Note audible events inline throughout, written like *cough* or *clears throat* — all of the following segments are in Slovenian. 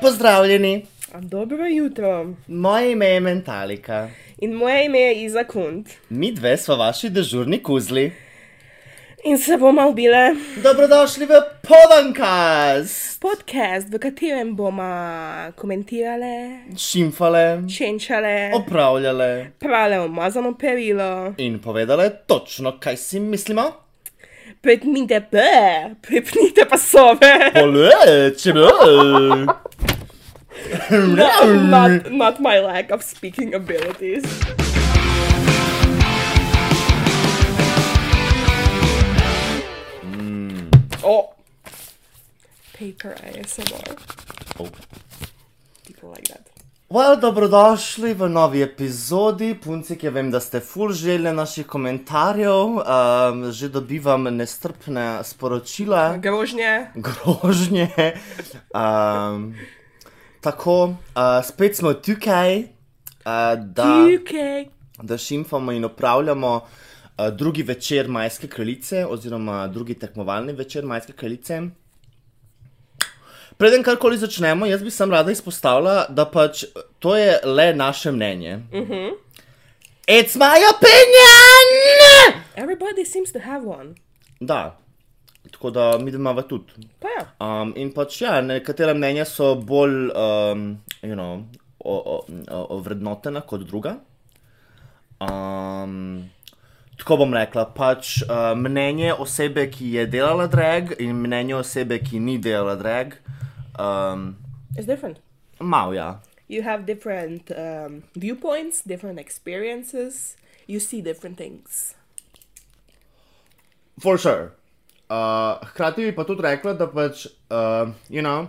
Pozdravljeni, Dobro jutro. moje ime je Mentalika. In moje ime je Iza Kund. Mi dve smo vaši dežurni kuzli. In se bomo ubile Dobrodošli v Podankast! podcast, v katerem bomo komentirale, Šimfale, čenčale, opravljale prale umazano perilo, in povedale točno, kaj si mislimo. prepnite pe, prepnite pasove. Poleče, not, not, not my lack of speaking abilities. Oh. Paper ASMR. Oh. People like that. Well, dobrodošli v novi epizodi. Puncik, ja vem, da ste full želje naših komentarjev, um, že dobivam nestrpne sporočila. Grožnje. grožnje. Um, tako, uh, spet smo tukaj, uh, da, UK. da šimfamo in opravljamo uh, drugi večer Majske kraljice, oziroma drugi tekmovalni večer Majske kraljice. Preden karkoli začnemo, jaz bi sem rada izpostavila, da pač to je le naše mnenje. Uh -huh. It's my opinion! Everybody seems to have one. Da, tako da mi imamo tudi. Pa ja. Um, in pač, ja, nekatera mnenja so bolj um, you know, o, o, o, ovrednotena kot druga. Um, tako bom rekla, pač uh, mnenje osebe, ki je delala drag, in mnenje osebe, ki ni delala drag, um, It's different. malo ja. You have different um, viewpoints, different experiences. You see different things. For sure. Uh, hkrati bi pa tudi rekla, da pač, uh, you know,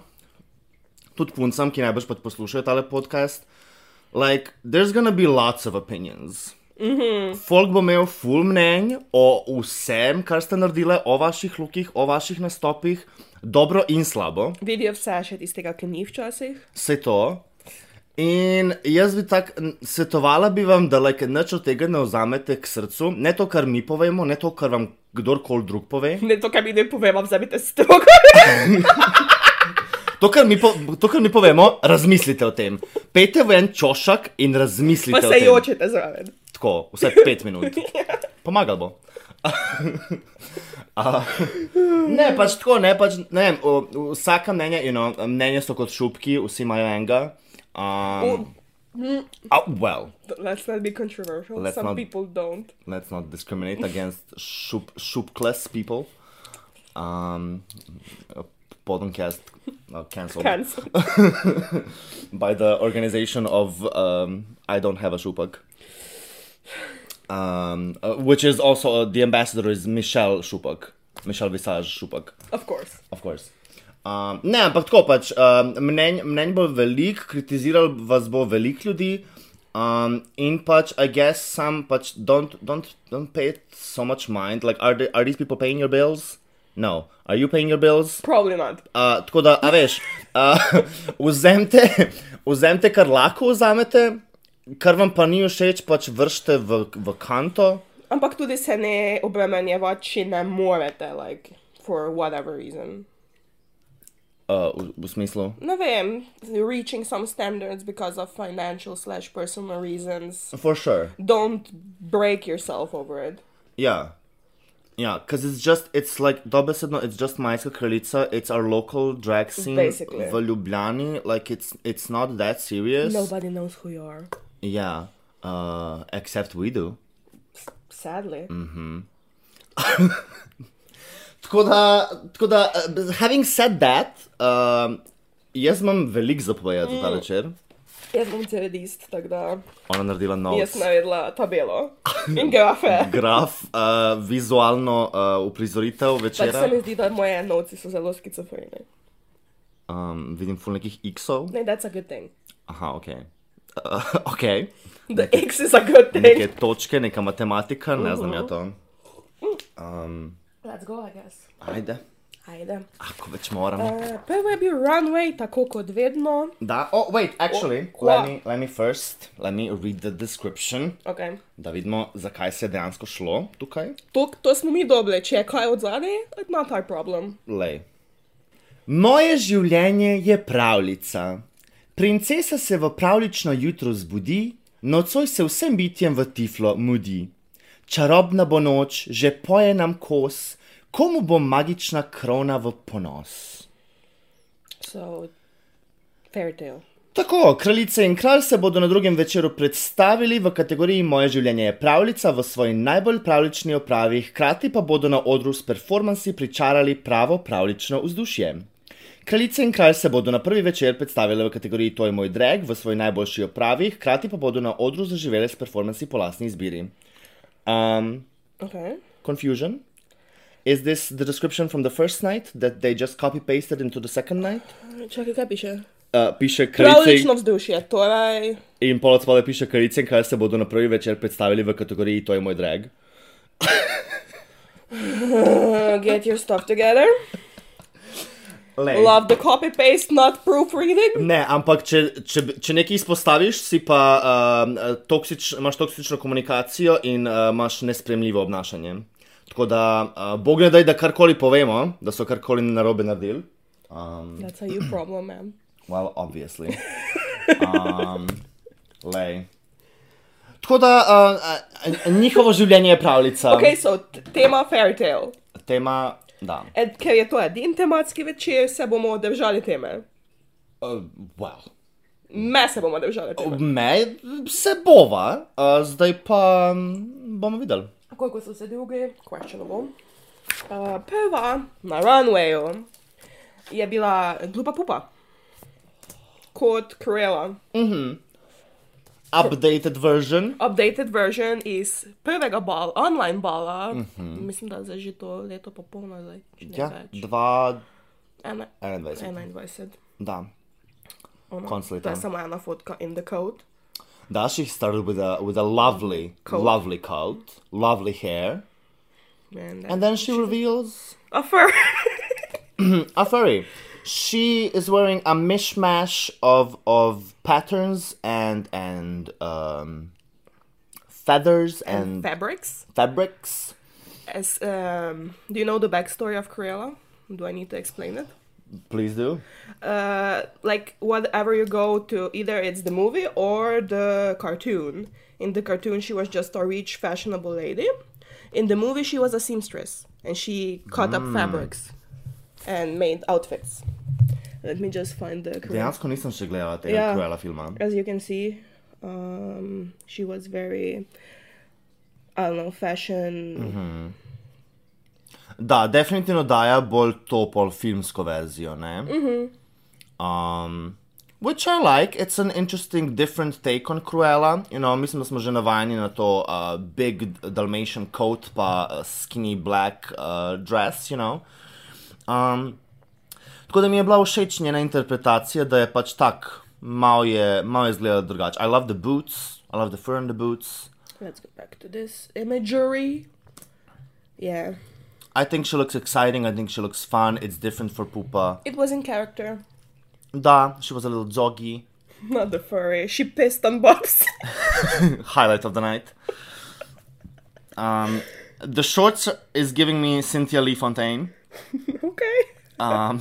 tudi puncem, ki najbrž pač poslušajo tale podcast, like, there's gonna be lots of opinions. Mm -hmm. Folk bo imel full mnenj o vsem, kar ste naredili, o vaših lukih, o vaših nastopih, dobro in slabo, Video vsaša tistega, ki ni včasih. vse to. In jaz bi tako n- svetovala bi vam, da like, nič od tega ne vzamete k srcu, ne to, kar mi povemo, ne to, kar vam kdorkoli drug pove. *laughs* Ne to, kar mi ne povem, vzamite strogo. To kar, mi po, to, kar mi povemo, razmislite o tem. Pejte v en čošak in razmislite Pa o se tem. jočete zraven. *laughs* Tako, vsaj pet minut. Pomagal bo. A, ne, pač tako, ne, pač ne. vem, o- o- Vsaka mnenja, you know, mnenja so kot šupki, vsi imajo enega. Um, oh, well, Let's not be controversial. Let's Some not- people *laughs* don't. let's not discriminate against šup, šupkless people. Um, podcast uh, cancelled. *laughs* Cancel. by the organization of um, I don't have a shupak. Um, uh, which is also uh, the ambassador is Michelle Šupak, Michelle Visage Šupak, Of course. of course. Um, ne, ampak tako pač, um, mnenj, mnenj bo veliko, kritiziral vas bo veliko ljudi. Um, in pač, I guess, sam pač don't, don't, don't pay it so much mind. Like, are, they, are these people paying your bills? No. Are you paying your bills? Probably not. Uh, tako da, a veš, uh, vzemite, vzemite, kar lahko vzamete, kar vam pa ni všeč, pač vršte v, v kanto. Ampak tudi se ne obremenjevati, če ne morete, like, for whatever reason. Uh, v, v smislu, No vem, reaching some standards because of financial slash personal reasons. for sure. Don't break yourself over it. Yeah. Yeah, because Ja, it's just, it's like, dobesedno, it's just Majska kraljica, it's our local drag scene Basically. v Ljubljani, like, it's, it's not that serious. Nobody knows who you are. Yeah, uh, except we do. Sadly. Tako da, tako da uh, having said that, um, jaz imam veliko zapovedati mm. ta večer. Jaz bom ceredist, tako da Ona naredila nov jaz navedla tabelo in grafe. Mm. graf, uh, vizualno uh, uprizoritev Pač večera. se mi zdi, da moje novci so zelo skicofreni. Um, vidim ful nekih x-ov. Ne, that's a good thing. Aha, ok. *laughs* Uh, ok, The X is a good neke thing. točke, neka matematika, ne znam Mhm. ja to. Let's go, I guess. Ajde, Ajde. ako več moramo. Uh, prvo je bil runway, tako kot vedno. Da, oh, wait, actually, Oh, let kva? me, let me first, let me read the description, Okay. da vidimo, zakaj se je dejansko šlo tukaj. To, to smo mi dobili, če je kaj od zadaj, it's not our problem. Lej. Moje življenje je pravljica. Princesa se v pravlično jutro zbudi, nocoj se vsem bitjem v tiflo mudi. Čarobna bo noč, že poje nam kos, komu bo magična krona v ponos. So, fairy tale. Tako, kraljice in kralj se bodo na drugem večeru predstavili v kategoriji Moje življenje je pravljica v svoji najbolj pravlični opravi, hkrati pa bodo na odru s performansi pričarali pravo pravlično vzdušje. Kraljice in kralj se bodo na prvi večer predstavili v kategoriji To je moj drag v svoji najboljši opravi, hkrati pa bodo na odru zaživeli s performansi po lastni izbiri. Um, Okay. confusion? Is this the description from the first night that they just copy pasted into the second night? Čakaj, kaj piše? Uh, piše kraljice in Pravlično vzdušje, torej. In pol od spodaj piše kraljice in kralj se bodo na prvi večer predstavili v kategoriji To je moj drag. Uh, get your stuff together. Lej. Love the copy paste, not proofreading. Ne, ampak če, če, če nekaj izpostaviš, si pa um, toksič, imaš toksično komunikacijo in uh, imaš nespremljivo obnašanje. Tako da, uh, bog ne daj, da karkoli povemo, da so karkoli narobe naredili. Um, That's a you problem, man. well, *laughs* obviously. Um, lej. Tako da, uh, uh, njihovo življenje je pravljica. Okay, so t- tema fairy tale. Tema, da. Ed, ker je to edin tematski večer, se bomo držali teme. Uh, well. Me se bomo držali Oh. teme. Me se bova, a zdaj pa mm, m, bomo videli. Koliko so se drugi, questionable. Uh, prva na runwayu je bila glupa pupa. Kot Cruella. Updated version. Updated version iz prvega bala, online bala. Mm -hmm. Mislim, da je že to leto popolno zdaj. če ne Mhm. Ja, več. 2.21. Ena- 21. Da. Ona. Konc leta. To je samo ena fotka in the code. Da, she started with a, with a lovely, Coat. lovely coat, lovely hair. And, And then she reveals A fur. a furry. She is wearing a mishmash of, of patterns and, and um, feathers *laughs* and Fabrics. fabrics. As, um, do you know the backstory of Cruella? Do I need to explain it? Please do. uh, like whatever you go to, either it's the movie or the cartoon. In the cartoon, she was just a rich, fashionable lady. In the movie, she was a seamstress and she cut up fabrics and made outfits. Let me just find the correct. Dejansko nisem še gledala tega Ja. yeah. Cruella filma. As you can see, um, she was very, I don't know, fashion. Da, definitivno daje bolj to pol filmsko verzijo. Mm -hmm. um, which I like, it's an interesting, different take on Cruella. You know, mislim, da smo že navajeni na to uh, big Dalmatian coat, pa uh, skinny black uh, dress, you know. Um, tako da mi je bila všeč njena interpretacija, da je pač tak, malo je, malo je izgledala drugače. I love the boots, I love the fur in the boots. Let's go back to this imagery. Yeah, I think she looks exciting. I think she looks fun. It's different for Pupa. it was in character. *laughs* Da, she was a little doggy. *laughs* Not the furry. She pissed on Bob's. *laughs* Highlight of the night. Um, the shorts is giving me Cynthia Lee Fontaine. okay. Um,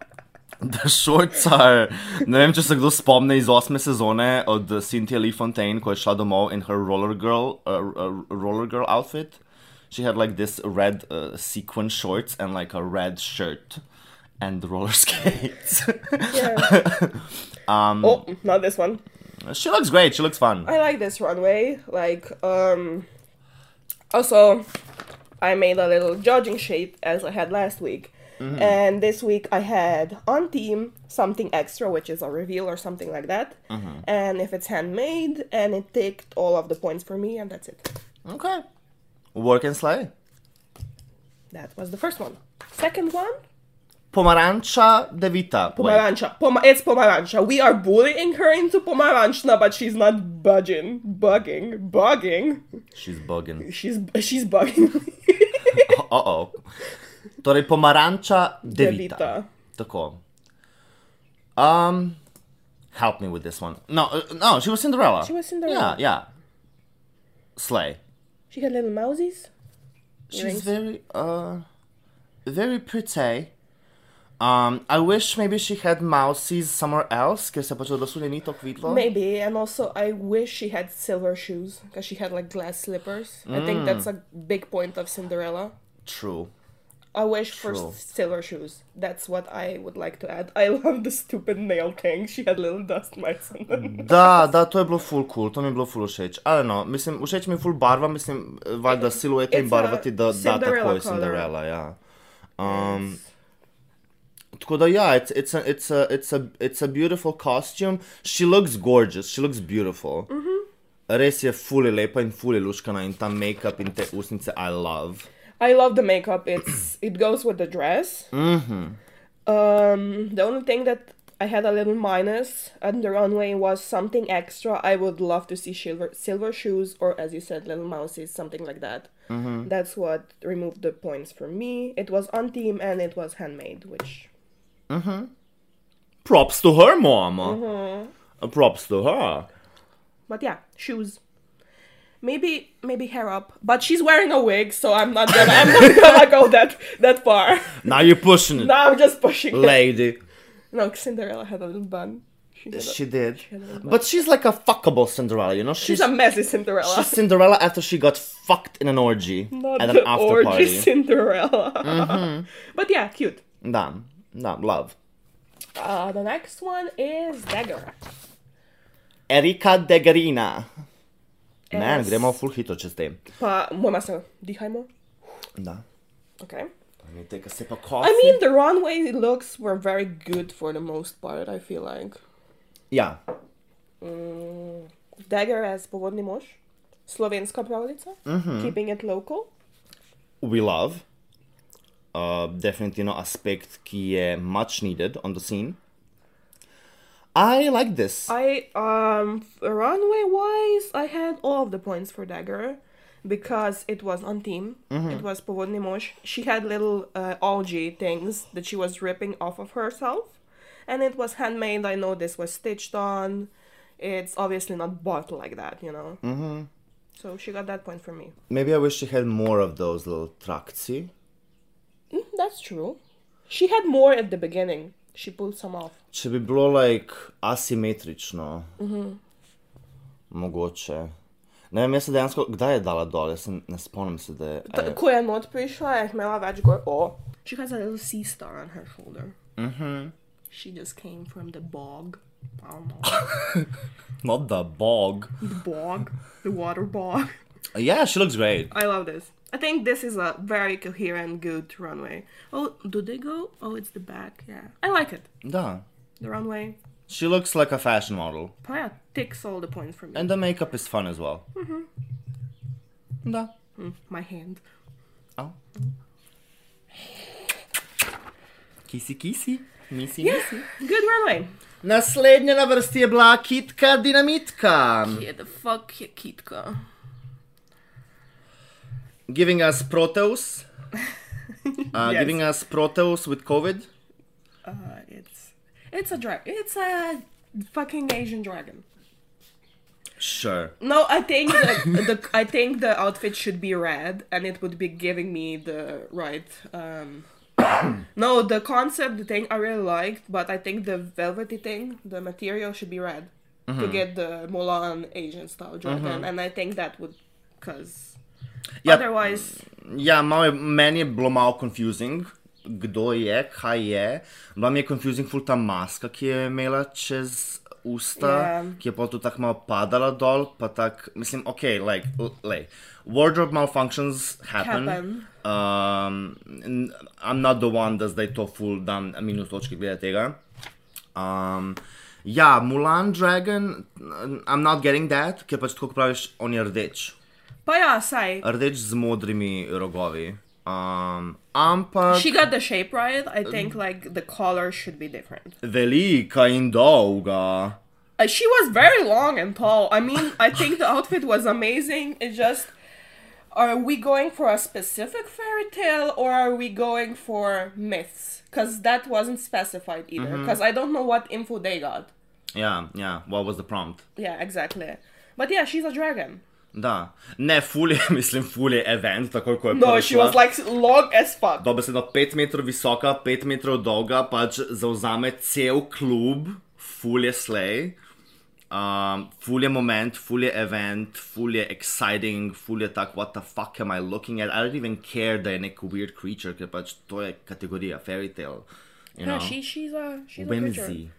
*laughs* the shorts are. Ne vem, če se kdo spomne iz osme sezone od Cynthia Lee Fontaine, ko je šla domov in her roller girl, uh, uh, roller girl outfit. She had like this red uh, sequin shorts and like a red shirt and roller *laughs* skates. *laughs* Yeah. um, oh, not this one. She looks great. She looks fun. I like this runway. Like, um. Also, I made a little judging sheet as I had last week. And this week I had on team something extra, which is a reveal or something like that. And if it's handmade, and it ticked all of the points for me, and that's it. Okay. Work and slay. That was the first one. Second one, Pomaranča devita. Wait. Pomarancha. Poma- it's Pomarancha. We are bullying her into Pomaranchna, but she's not budging. Bugging. Bugging. She's bugging. *laughs* She's she's bugging. *laughs* Uh oh. Torej, pomaranča devita. Devita. Tako. Um, help me with this one. No, uh, no, she was Cinderella. She was Cinderella. Yeah, yeah. Slay. she had little mousies. She's Earrings. very, uh, very pretty. Um, I wish maybe she had mousies somewhere else, ker se pač odločila ni tako videlo. Maybe, and also I wish she had silver shoes because she had like glass slippers. I Mm. think that's a big point of Cinderella. True. I wish for True. s- silver shoes. That's what I would like to add. I *laughs* love the stupid nail king. She had little dust mites on them. Da, da, to je bilo full cool, to mi je bilo full všeč. Ali no, mislim, všeč mi je full barva, mislim, eh, valjda silueta in It's barva a ti da, da Cinderella takoj color. Cinderella, ja. Um, tako da ja, it's, it's, a, it's, a, it's, a, it's a beautiful costume. She looks gorgeous, she looks beautiful. Mhm. Res je fully lepa in fully luškana in ta make-up in te usnice I love. I love the makeup. It's *clears throat* it goes with the dress. Um, the only thing that I had a little minus on the runway was something extra. I would love to see silver silver shoes or, as you said, little mouses, something like that. That's what removed the points for me. It was on team and it was handmade, which Props to her, mama. Mhm. Uh, Props to her. but yeah, shoes. Maybe maybe hair up, but she's wearing a wig, so I'm not gonna I'm not gonna go that that far. Now you're pushing it, now I'm just pushing. it. lady. No, Cinderella had a little bun. She had a- She did. little But she's like a fuckable Cinderella, you know? She's a messy Cinderella. She's Cinderella after she got fucked in an orgy *laughs* Not at an the after orgy party. Cinderella. *laughs* but yeah, cute. Damn, damn, love. Uh, the next one is Dagger. Erika Degarina. Man, Es- gremo full hitro čez te. Pa moja se dihajmo. Da. Okay. Let me take a sip of I coffee. mean, the runway looks were very good for the most part, I feel like. Ja, Dagger as povodni mož, slovenska pravljica, Mm-hmm. keeping it local. we love. Uh, definitivno aspekt, ki je much needed on the scene. I like this. I um runway wise, I had all of the points for Dagger because it was on team. It was Povodny Mosh. She had little uh, algae things that she was ripping off of herself, and it was handmade. I know this was stitched on. It's obviously not bought like that, you know. Mm-hmm. So she got that point for me. Maybe I wish she had more of those little trakci. Mm, that's true. She had more at the beginning. She pulled some off. Če bi bilo like, asimetrično, mogoče. Ne vem, jaz se dejansko, kdaj je dala dol, jaz se ne spomnim se, da je. Ta- Ko je not prišla, je imela več gor. O. She has a little sea star on her shoulder. Mm-hmm. She just came from the bog. I don't know. Not the bog. the bog. The water bog. Yeah, she looks great. I love this. I think this is a very coherent, good runway. Oh, do they go? Oh, it's the back. Yeah. I like it. Da. The runway. She looks like a fashion model. Paya ticks all the points for me. And the makeup is fun as well. Da. Hmm, My hand. Oh. Kisi, kisi. Misi, misi. Good runway. Ja. Naslednja na vrsti je bila kitka dinamitka. Yeah, the fuck, yeah, Kitka. giving us *laughs* Proteus. Uh, Yes. Giving us Proteus with COVID. Uh, it's it's a drag. It's a fucking Asian dragon. Sure. No, I think the, the I think the outfit should be red, and it would be giving me the right. Um, *coughs* no, the concept, the thing I really liked, but I think the velvety thing, the material should be red to get the Mulan Asian style dragon, and I think that would, cause Ja, otherwise ja malo je, meni je bilo malo confusing, kdo je, kaj je. Bila mi je confusing ful ta maska, ki je imela čez usta, Ja. ki je potem tako malo padala dol, pa tako, mislim, ok, like, l- lej. Wardrobe malfunctions happen. Happen. Um, n- I'm not the one, da zdaj to ful dam minus točke glede tega. Um, ja, Mulan Dragon, n- I'm not getting that, ker pač tako kot praviš, on je rdeč. pa ja, saj. Rdeč z modrimi rogovi. Um, ampak She got the shape right. I think like the color should be different. velika in dolga. Uh, she was very long and tall. I mean, I think the outfit was amazing. It's just, are we going for a specific fairy tale or are we going for myths? Because that wasn't specified either. Mm-hmm. Because I don't know what info they got. Ja, ja, what was the prompt? Yeah, exactly. But yeah, she's a dragon. Da. Ne, fulje, *laughs* mislim, fulje event, tako kot je No, she was like long as fuck. Dobesedno 5 metrov visoka, 5 metrov dolga, pač zauzame cel klub, fulje slej. Um, fulje moment, fulje event, fulje exciting, fulje tak, what the fuck am I looking at? I don't even care, da je nek weird creature, ker pač to je kategorija fairy tale. You Yeah, know? she she's a she's a creature. Whimsy.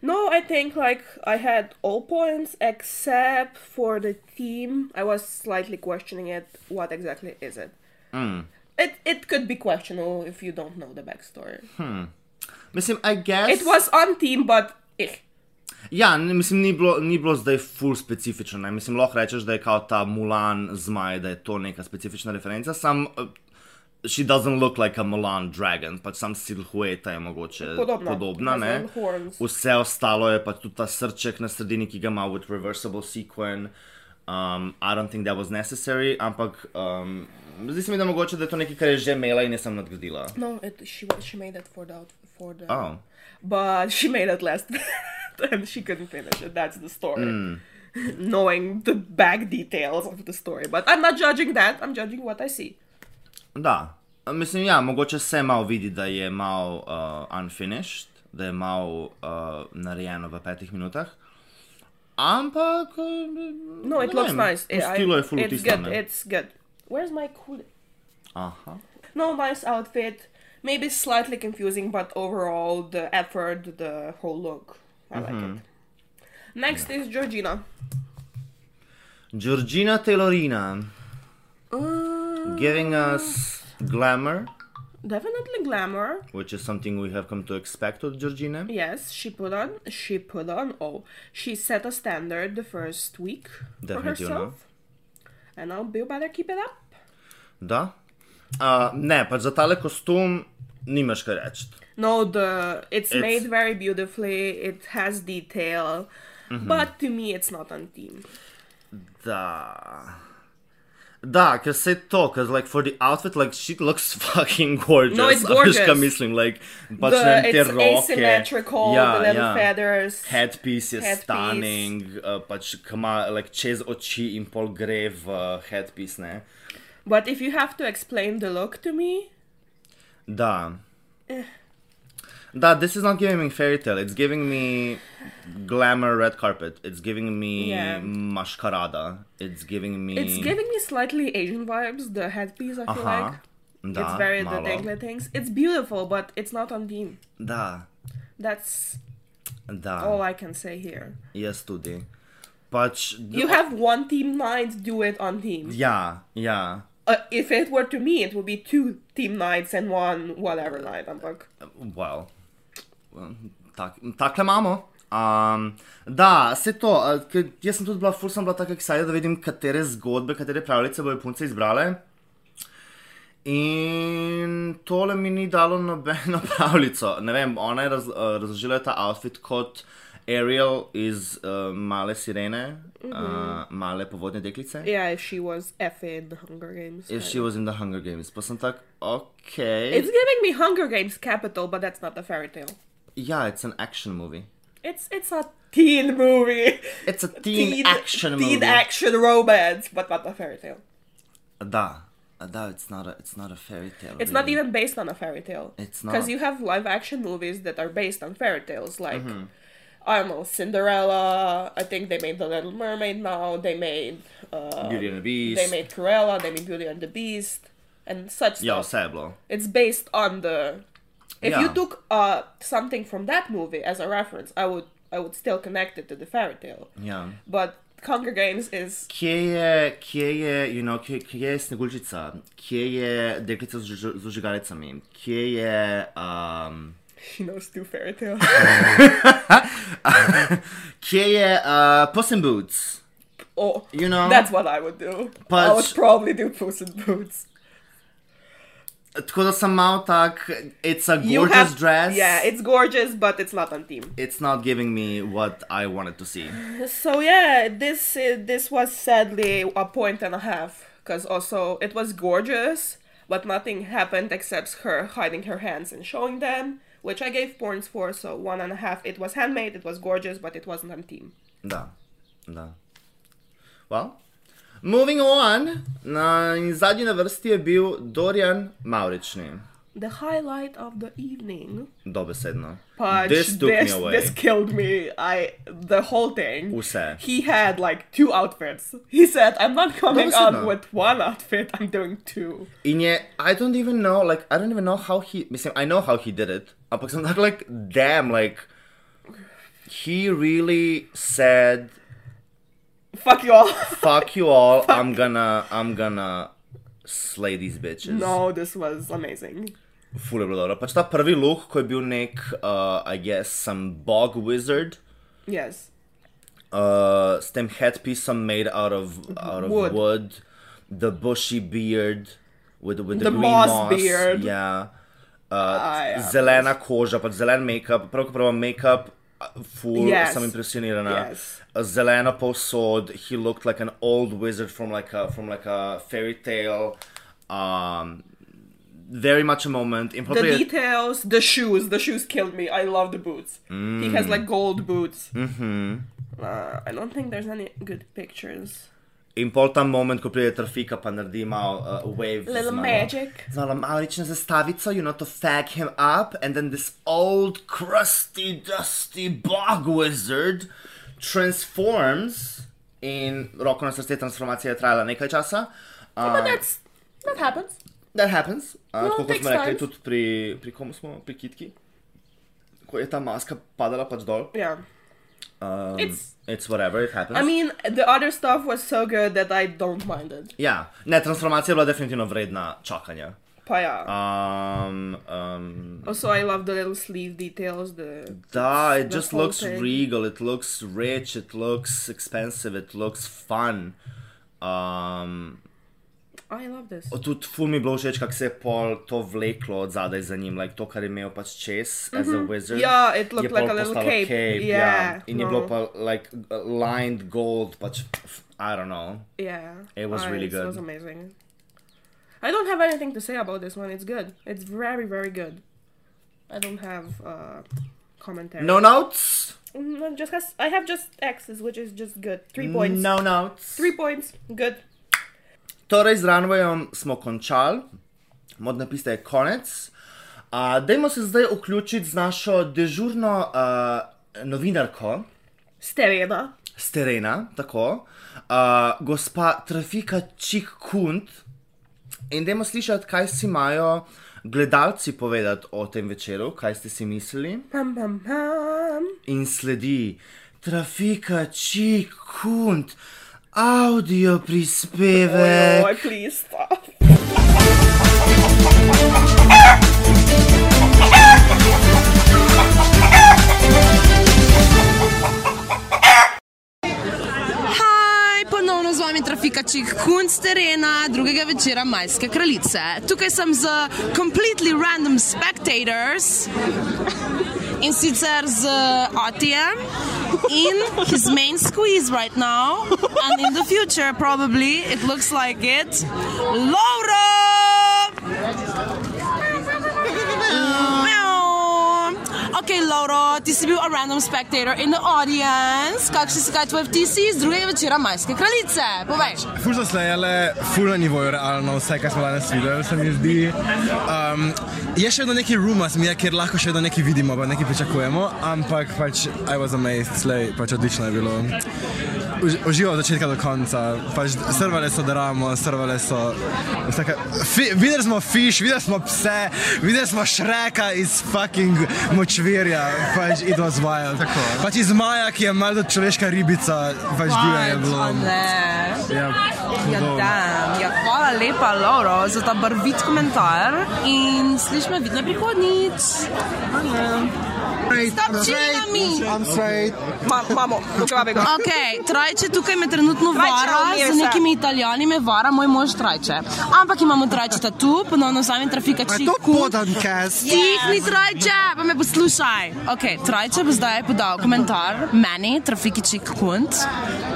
No, I think like I had all points except for the theme. I was slightly questioning it. What exactly is it? Hmm. It it could be questionable if you don't know the *laughs* backstory. Mislim, I guess. It was on theme, but eh. Ja, ne, mislim, ni bilo, ni bilo zdaj full specifično. Ne? Mislim, lahko rečeš, da je kao ta Mulan zmaj, da je to neka specifična referenca, sam uh, she doesn't look like a Mulan dragon, pač sam silhueta je mogoče Podobna. podobna ne? Razen horns. Vse ostalo je pač tudi ta srček na sredini, ki ga ima with reversible sequin. Um, I don't think that was necessary, ampak um, zdi se mi, da mogoče da je to nekaj, kar je že imela in nisem nadgradila. no, it she wa- she made it for the outf- for the. Oh. But she made it last, *laughs* and she couldn't finish it. That's the story. Hmm. *laughs* Knowing the back details of the story, but I'm not judging that. I'm judging what I see. Da, mislim, ja, mogoče se malo vidi, da je malo uh, unfinished, da je malo uh, narejeno v petih minutah. Ampak, eh, No, it ne looks vem, nice. Eh, I- Pustilo je full it's good. tiskane. It's good. Where's my cool? Aha. No, nice outfit. Maybe slightly confusing, but overall the effort, the whole look, I Mm-hmm. like it. Next is Georgina. Georgina Taylorina, Uh, giving us glamour, definitely glamour. which is something we have come to expect od Georgine. Yes, she put on. She put on. Oh, she set a standard the first week for Definitely, you know. herself, and now Bill better keep it up. Da. Uh, ne, pač za tale kostum nimaš kaj reči. No, the it's, It's- made very beautifully. It has detail, Mm-hmm. but to me, it's not on theme. Da. Da, ker se to, ker like for the outfit, like she looks *laughs* fucking gorgeous. *laughs* No, it's A veš, kaj gorgeous. mislim, like, pač ne The, vem, te it's roke. asymmetrical. the little feathers. Headpiece je Headpiece. stunning, uh, pač ki ima like, čez oči in pol gre v uh, headpiece, ne? But if you have to explain the look to me, Da. Eh. Da, this is not giving me fairy tale, it's giving me glamour red carpet, it's giving me Yeah. maskarada, it's giving me... it's giving me slightly Asian vibes. The headpiece, I feel like. Aha, da, it's very the malo. dangly things. It's beautiful, but it's not on theme. Da, That's da. all I can say here. Jaz tudi. Pač, You have one team night, do it on team. ja, ja. Uh, if it were to me, it would be two team nights and one whatever night. I'm like, Well. Tak, takle imamo. Um, da, se to. a, ke- Jaz sem tudi bila, ful sem bila tako excited, da vidim, katere zgodbe, katere pravljice bojo punce izbrale. In tole mi ni dalo nobeno *laughs* pravljico. Ne vem, ona je raz, eh, razložila je ta outfit kot Ariel iz uh, Male sirene, mm -hmm. Mhm. uh, male povodne deklice. yeah, if she was effing in the Hunger Games. If she was in the Hunger Games, pa sem tak, ok. It's giving me Hunger Games capital, but that's not a fairy tale. Yeah, it's an action movie. It's it's a teen movie. *laughs* It's a teen, action teen movie. action romance, but not a fairy tale. da, da, it's not a, it's not a fairy tale. It's not really. even based on a fairy tale. Mm. It's Because not. you have live action movies that are based on fairy tales, like Mm-hmm. I don't know, Cinderella. I think they made The Little Mermaid now. They made uh, Beauty and the Beast. They made Cruella. They made Beauty and the Beast, and such Ja, stuff. vse je bilo. It's based on the. If you Yeah. took uh something from that movie as a reference, I would I would still connect it to the fairy tale. Ja. But Hunger Games is *laughs* Kje je, kje je, you know, kje, kje je sneguljčica, kje je deklica z, žu- z ožigalicami, kje je, um, *laughs* she knows two fairy tales. *laughs* kje je uh, Puss in Boots, oh. you know? That's what I would do. I would Punch. probably do Puss in Boots. Tako da sem malo tak, it's a gorgeous You have- dress. Yeah, it's gorgeous, but it's not on theme. it's not giving me what I wanted to see. So yeah, this uh, this was sadly a point and a half because also it was gorgeous, but nothing happened except her hiding her hands and showing them, which I gave points for. So one and a half. It was handmade. It was gorgeous, but it wasn't on theme. Da, da. Well, Moving on, na, in zadnji na vrsti je bil Dorian Maurični, The highlight of the evening. dobesedno. Punch. This took this, me away. this killed me. I the whole thing. Use. He had like two outfits. He said, "I'm not coming Doesn't out it? with one outfit. I'm doing two. In je, I don't even know, like, I don't even know how he, mislim, I know how he did it, ampak sem tako, like, damn, like, he really said, Fuck you all." *laughs* fuck you all, I'm gonna, I'm gonna slay these bitches. *laughs* no, this was amazing. Ful je bilo dobro. Pač ta prvi look, ko je bil nek, uh, I guess, some bog wizard, Yes. uh, s tem headpieceom made out of, out of wood. Wood. the bushy beard, with, with the, The green moss moss beard. Yeah. Uh, Ah, ja, zelena koža, pač zelen make-up, pravzaprav make-up, uh, full, Yes. sem impresionirana. Yes. Uh, Zelena posod, he looked like an old wizard from like a, from like a fairy tale. Um, very much a moment. In The probably a- details, the shoes. The shoes killed me. I love the boots. He Mm. has like gold boots. Mm-hmm. Uh, I don't think there's any good pictures. In pol ta moment, ko pride trafika, pa naredi malo uh, wave. z Little malo- magic. Z malo malično zastavico, you know, to fag him up, and then this old, crusty, dusty bog wizard transforms. In roko na srce transformacija je trajala nekaj časa. Uh, But that's that happens. that happens. Uh, No, tako kot takes smo rekli, time. tudi pri, pri komu smo, pri kitki. Ko je ta maska padala pač dol. Yeah. Um, It's- it's whatever, it happens. I mean, the other stuff was so good that I don't mind it. ja, ne, transformacija je bila definitivno vredna čakanja. But yeah. Um, um, Also, I love the little sleeve details. The da, it the just whole looks thing. regal. It looks rich. It looks expensive. It looks fun. Um, oh, I love this. tudi ful mi je bilo všeč, kako se je pol to vleklo od zadaj za njim, like to, kar je imel pač čez as a wizard. Mhm. Yeah, it je looked pol like a little postalo cape. ja. Yeah, In je no. bilo pa E like uh, lined gold, pač I don't know. Yeah, It was I- really It good. was amazing. I don't have anything to say about this one. It's good. It's very, very good. I don't have uh, commentary. No notes. Mm, I just has I have just X's, which is just good. Three points. No notes. Three points. Good. Torej, z Runwayom smo končali, modna pista je konec. Uh, dajmo se zdaj vključiti z našo dežurno uh, novinarko Sterena. z terena, tako, uh, gospa Trafika Čik Kunt. In dajmo slišati, kaj si imajo gledalci povedati o tem večeru, kaj ste si mislili. Pam pam pam. In sledi Trafika Čik Kunt, audio prispevek. Oh, please stop. Haj, ponovno z vami trafikačik Kun z terena drugega večera Majske kraljice. Tukaj sem z completely random spectators in sicer z Atijem in his main squeeze right now and in the future probably it looks like it. Laura! Ok, Lauro, ti si bil a random spectator in the audience. Kakšni so kaj tvoji vtisi iz drugega večera Majske kraljice? Povej. Ful so slejale, ful na nivoju realno, vse, kar smo danes videli, se mi zdi. Um, je še vedno neki ruma, mi je, kjer lahko še vedno nekaj vidimo, pa nekaj pričakujemo, ampak pač I was amazed, slej, pač odlično je bilo. Už- Užival od začetka do konca, pač srvale so dramo, srvale so. Vsaka, fi, videli smo fiš, videli smo pse, videli smo šreka iz fucking močvirja, pač it was wild. Tako. Pač iz Maja, ki je malo človeška ribica, pač divje je bilo. A ne. Ja, Ja, hudo. dam. ja, hvala lepa, Lauro, za ta barvit komentar. In sliš me, vidno prihodnjič. Stop čilami! Ma, mamo, pokavej ga. Ok, trajče tukaj me trenutno vara umije z se. nekimi italijani, me vara moj mož trajče. Ampak imamo trajčeta tu, ponovno sami trafika čik. podcast. Stihni trajče, pa me poslušaj. Ok, trajče bo zdaj podal komentar meni, trafiki čik kunt,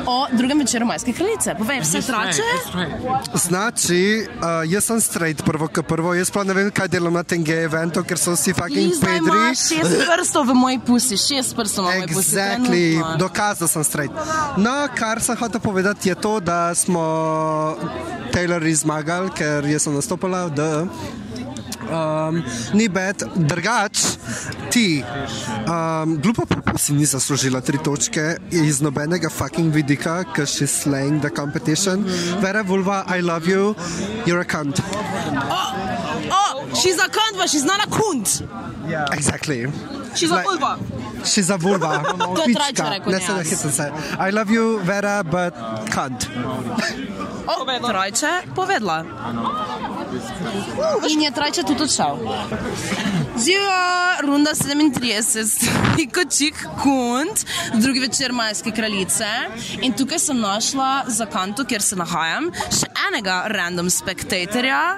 o drugem večeru majske kraljice. Povej vse trajče. reče? Znači, uh, jaz sem straight prvo, kot prvo, jaz pa ne vem, kaj delam na tem gej eventu, ker so vsi Ti fucking zdaj pedri. imaš šest prstov v moji pusi, šest prstov v moji pusi. Exactly, trenutno. dokazal sem straight. No, kar sem hotel povedati je to, da smo Taylorji zmagali, ker jaz sem nastopila, da E. um, ni bed, drugač ti. Um, glupa pa si ni zaslužila tri točke iz nobenega fucking vidika, ker si slang the competition. Vera Vulva, I love you, you're a cunt. Oh, oh, she's a cunt, but she's not a cunt. Exactly. She's a Like- vulva. She's a vulva. *laughs* To je trač, pička. rekel Ne, se ne Neas. hitim se. I love you, Vera, but cunt. Oh, trajče povedla. In je trajče tudi odšel. Živijo, runda 37, Niko Čik Kunt, drugi večer Majske kraljice. In tukaj sem našla za kanto, kjer se nahajam, še enega random spektatorja,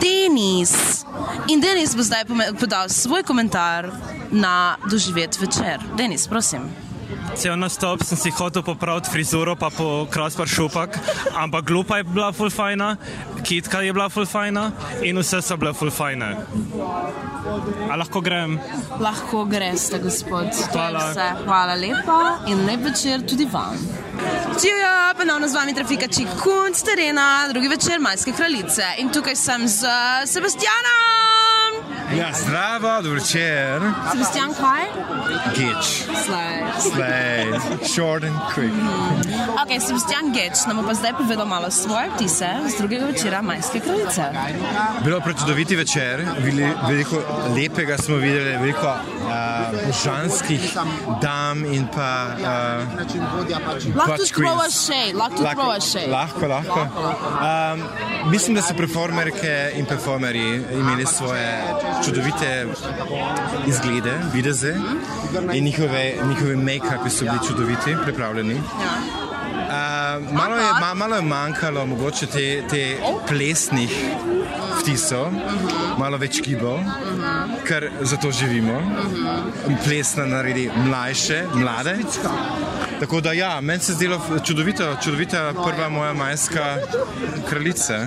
Denis. In Denis bo zdaj pome- podal svoj komentar na doživet večer. Denis, prosim. Cel nastop sem si hotel popraviti frizuro, pa po kraspar šupak, ampak glupa je bila full fajna, kitka je bila full fajna in vse so bile full fajne. A lahko grem? Lahko greste, gospod. To je Hvala. vse. Hvala lepa in lep večer tudi vam. Živijo, ponovno z vami trafika Čikun z terena, drugi večer Majske kraljice. In tukaj sem z Sebastianom. Ja, zdravo, dobro večer. Sebastian, kaj? Geč. Slej. Slej, short and quick. Ok, Sebastian Geč nam bo pa zdaj povedal malo svoje vtise z drugega večera Majske kraljice. Bilo je prečudoviti večer, bili, veliko lepega smo videli, veliko uh, ženskih dam in pa. Uh, Lahko Pač tudi queens. provaš še, lahko tudi provaš še. lahko, lahko. Um, mislim, da so performerke in performerji imeli svoje čudovite izglede, videze in njihove, njihove make-upi so bili čudoviti, pripravljeni. Ja. Uh, malo, je, ma, malo je manjkalo mogoče te, te plesnih vtisov, Mhm. malo več gibov, ker zato živimo. Mhm. Plesna naredi mlajše, mlade. Tako da ja, meni se je zdelo čudovita, čudovita prva moja majska kraljica.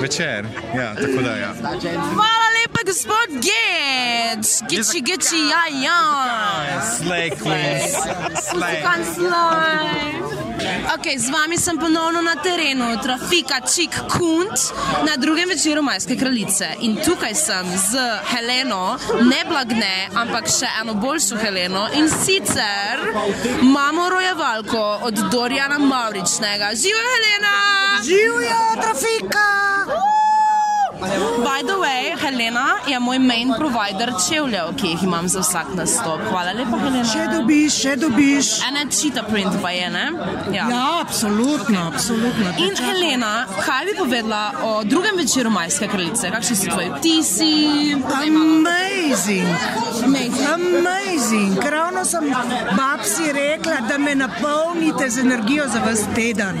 Večer, ja, tako da ja. Hvala lepa, gospod Geč. Geči, geči, ja, ja. Slay queens. Slay. Kanclaj. Okay, z vami sem ponovno na terenu, trafika Čik Kunt na drugem večeru Majske kraljice. In tukaj sem z Heleno, ne blagne, ampak še eno boljšo Heleno in sicer mamo rojevalko od Dorjana Mavričnega. Živijo Helena! Živijo, trafika! By the way, Helena je moj main provider čevljev, ki jih imam za vsak nastop. Hvala lepa, Še Helena. dobiš, še dobiš. Ena čita print pa je, ne? Ja, absolutno, okay. absolutno. In Helena, kaj bi povedala o drugem večeru Majske kraljice? Kakšni so tvoji vtisi? Amazing, Amazing. amazing. Ker ravno sem babsi rekla, da me napolnite z energijo za vas teden.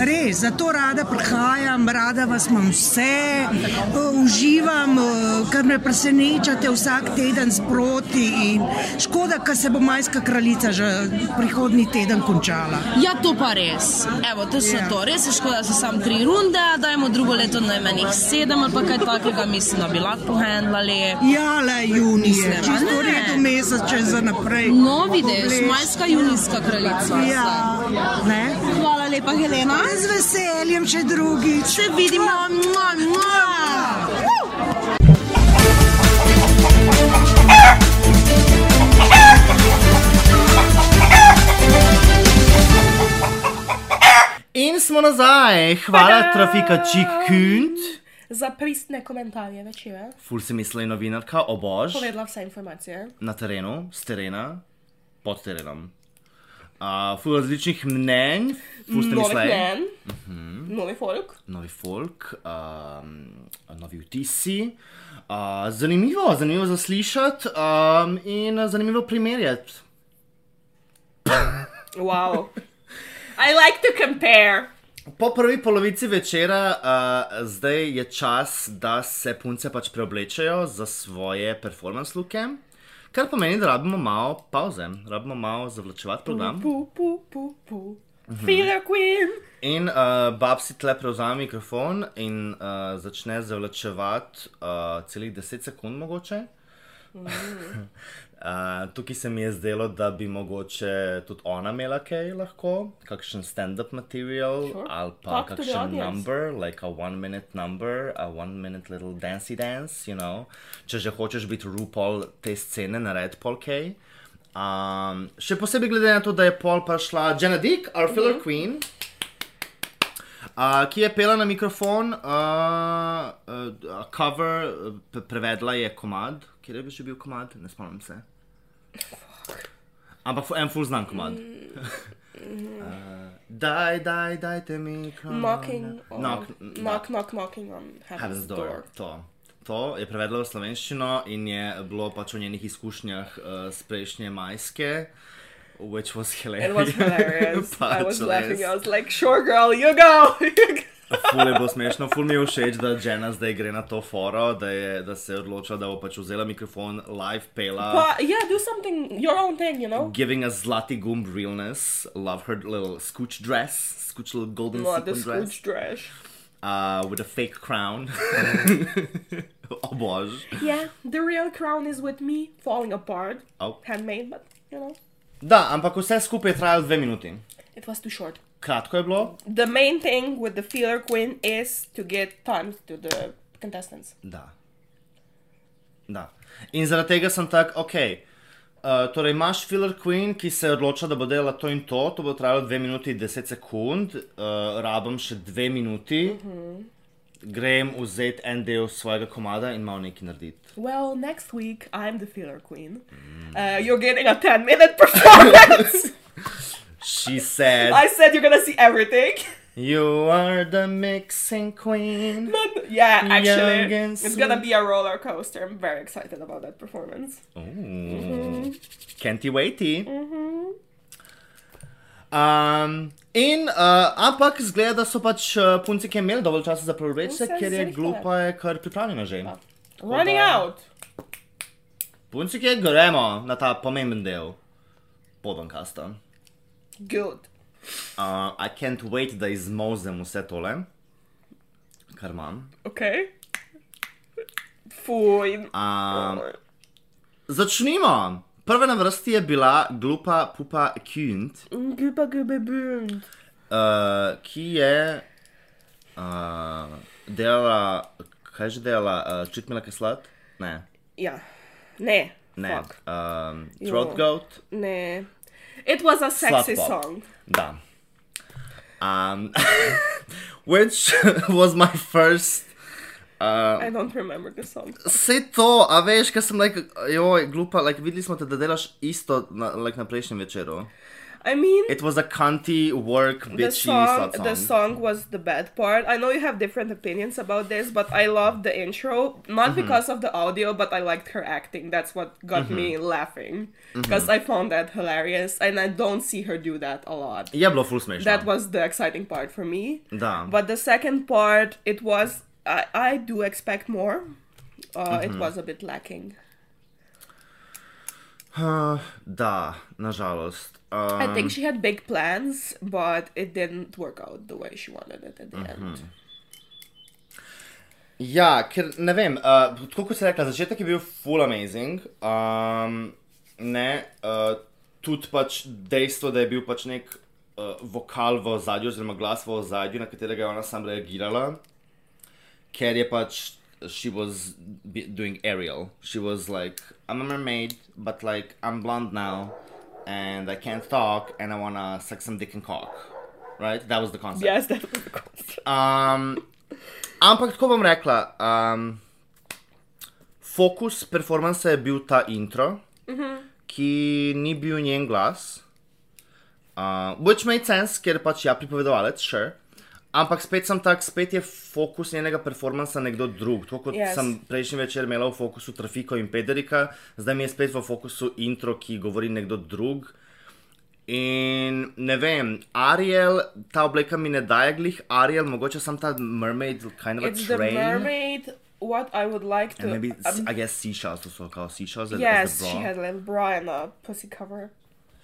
Res, zato rada prihajam, rada vas imam vse, eh, uživam, eh, ker me presenečate vsak teden sproti. in Škoda, ker se bo Majska kraljica že prihodnji teden končala. Ja, to pa res. Evo, točno to. Res je škoda, da so samo tri runde, dajmo drugo leto najmanj jih sedem ali pa kaj takega, mislim, da bi lahko handlali. Ja, le junij je, Mislim, a čisto ne? v redu mesec, če za naprej. No, vidiš, Poglej. majska junijska kraljica. Ja, ne? Hvala lepa, Helena. Z veseljem še drugič. Se vidimo. Mua, mua. In smo nazaj, hvala, trafika Čik Kunt. Za pristne komentarje večera, Ful se misli novinarka, obož. povedala vse informacije. Na terenu, s terena, pod terenom. Uh, ful različnih mnenj, ful se Novih misli. mnen, Mhm. novi folk. novi folk, um, novi vtisi. Uh, zanimivo, zanimivo zaslišati um, in zanimivo primerjati. Wow. *laughs* I like to compare. Po prvi polovici večera uh, zdaj je čas, da se punce pač preoblečejo za svoje performance luke, kar pomeni, da rabimo malo pauze, rabimo malo zavlačevati program. Pu, pu, pu, pu. Feeler Queen. In uh, Babsi tle prevzame mikrofon in uh, začne zavlačevati uh, celih 10 sekund, mogoče. Mm. *laughs* uh, tukaj se mi je zdelo, da bi mogoče tudi ona imela kaj lahko, kakšen stand-up material sure. ali pa Talk to the kakšen audience. number, like a one-minute number, a one-minute little dancey dance, you know. Če že hočeš biti RuPaul te scene, nared pol kaj. Um, še posebej glede na to, da je pol pa šla Jenna Dick, our filler mm Mhm. -hmm. queen. Uh, ki je pela na mikrofon, uh, uh, cover, uh, pre- prevedla je komad, kjer je bil še bil komad, ne spomnim se. Ampak fu- en full znan komad. uh, *laughs* Mm. daj, daj, dajte mi komad. Mocking on, Knock, knock, knock, knocking on Heaven's Heaven's door. door. To. to je prevedla v slovenščino in je bilo pač o njenih izkušnjah uh, z prejšnje majske. Which was hilarious. *laughs* It *laughs* was hilarious. I was Pač res. laughing. I was like, "Sure, girl, you *laughs* go." Ful je bilo smešno, ful mi je všeč, da Jenna zdaj gre na to foro, da, je, da se je odločila, da bo pač vzela mikrofon, live pela. but yeah, do something your own thing, you know. Giving us zlati gumb realness, love her little scooch dress, scooch little golden Not the sequin dress, scooch trash. uh, with a fake crown. oh bož. Yeah, the real crown is with me, falling apart, Oh. handmade, but you know, Da, ampak vse skupaj je trajalo dve minuti. it was too short. Kratko je bilo, The main thing with the feeler queen is to get time to the contestants. Da. da. In zaradi tega sem tak, ok. Uh, torej, imaš filler queen, ki se odloča, da bo delala to in to, to bo trajalo 2 minuti in 10 sekund, uh, rabim še 2 minuti, uh -huh. grem vzeti en del svojega komada in malo nekaj narediti. Well, next week I'm the feeler queen. Uh, you're getting a 10 minute *laughs* performance. She said, I said you're gonna see everything. *laughs* You are the mixing queen. yeah, actually, Young and it's gonna be a roller coaster. I'm very excited about that performance. Mm. Can't you wait? Mm-hmm. Um, in, uh, ampak zgleda, da so pač uh, punci, ki je imeli dovolj časa za preureč, Vse ker je zrihtajo. Ja. glupa, je kar pripravljena že. Running out. Punci, ki je gremo na ta pomemben del podankasta. Good. Uh, I can't wait, da izmozem vse tole, kar imam. Okay. Fui. Um, začnimo! Prva na vrsti je bila glupa Pupa Kind. Gooba gooba boom. uh, ki je uh, delala, kaj že delala, uh, čutmila kislat? Ne, Yeah. Ne. ne. Fuck. Um, Jo. throat goat, Ne. It was a sexy Slap pop. song. da. Um, *laughs* which *laughs* was my first. Oh. I don't remember the song. Vse to, a veš, kaj sem rekel, like, joj, glupa, like, videli smo te, da delaš isto na, like, na prejšnjem večeru. I mean, It was a cunty work the bitchy song, slut song. the song was the bad part. I know you have different opinions about this, but I love the intro, not because of the audio, but I liked her acting. That's what got me laughing because I found that hilarious, and I don't see her do that a lot. Je bilo full smešno. That was the exciting part for me. Da. But the second part, it was I, I do expect more. Uh, It was a bit lacking. da, nažalost. I think she had big plans, but it didn't work out the way she wanted it at the end. Ja, ker ne vem, uh, tako kot si rekla, začetek je bil full amazing. Um, ne, uh, tudi pač dejstvo, da je bil pač nek uh, vokal v zadju, oziroma glas v zadju, na katerega je ona sam reagirala, ker je pač. She was be- doing Ariel. She was like, I'm a mermaid, but like, I'm blonde now, and I can't talk, and I wanna suck some dick and cock. Right? That was the concept. Yes, that was the concept. Um, ampak tako bom rekla. Um, fokus performansa je bil ta intro, uh -huh. ki ni bil njen glas. Uh, which made sense, ker pač ja, pripovedovalec, sure. Ampak spet sem tak, spet je fokus njenega performansa nekdo drug. Tako kot yes. Yes. sem prejšnji večer imela v fokusu Trafiko in Pederika, zdaj mi je spet v fokusu intro, ki govori nekdo drug. In ne vem, Ariel, ta obleka mi ne daje glih, Ariel, mogoče sem ta mermaid, kind of It's a the train. mermaid. What I would like to. And maybe, um, I guess seashells, to so called seashells. as- as the yes, bra. she had little bra and a pussy cover.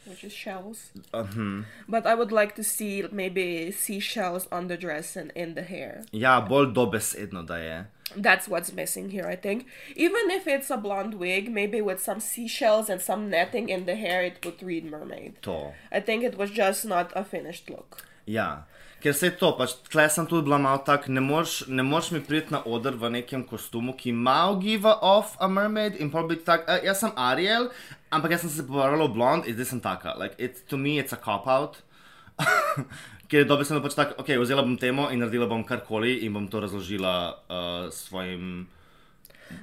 which is shells. Uh-huh. But I would like to see maybe seashells on the dress and in the hair. Ja, bolj dobesedno da je. That's what's missing here, I think. Even if it's a blonde wig, maybe with some seashells and some netting in the hair, it would read mermaid. To. I think it was just not a finished look. Ja. Ker se to, pač tle sem tudi bila malo tak, ne moreš, ne moreš mi priti na oder v nekem kostumu, ki malo give off a mermaid in pa biti tak, eh, jaz sem Ariel, ampak jaz sem se povarala v blond in zdaj sem taka. Like, it, to me it's a cop-out. *laughs* Ker je dobesedno pač tako, ok, vzela bom temo in naredila bom karkoli in bom to razložila uh, svojim.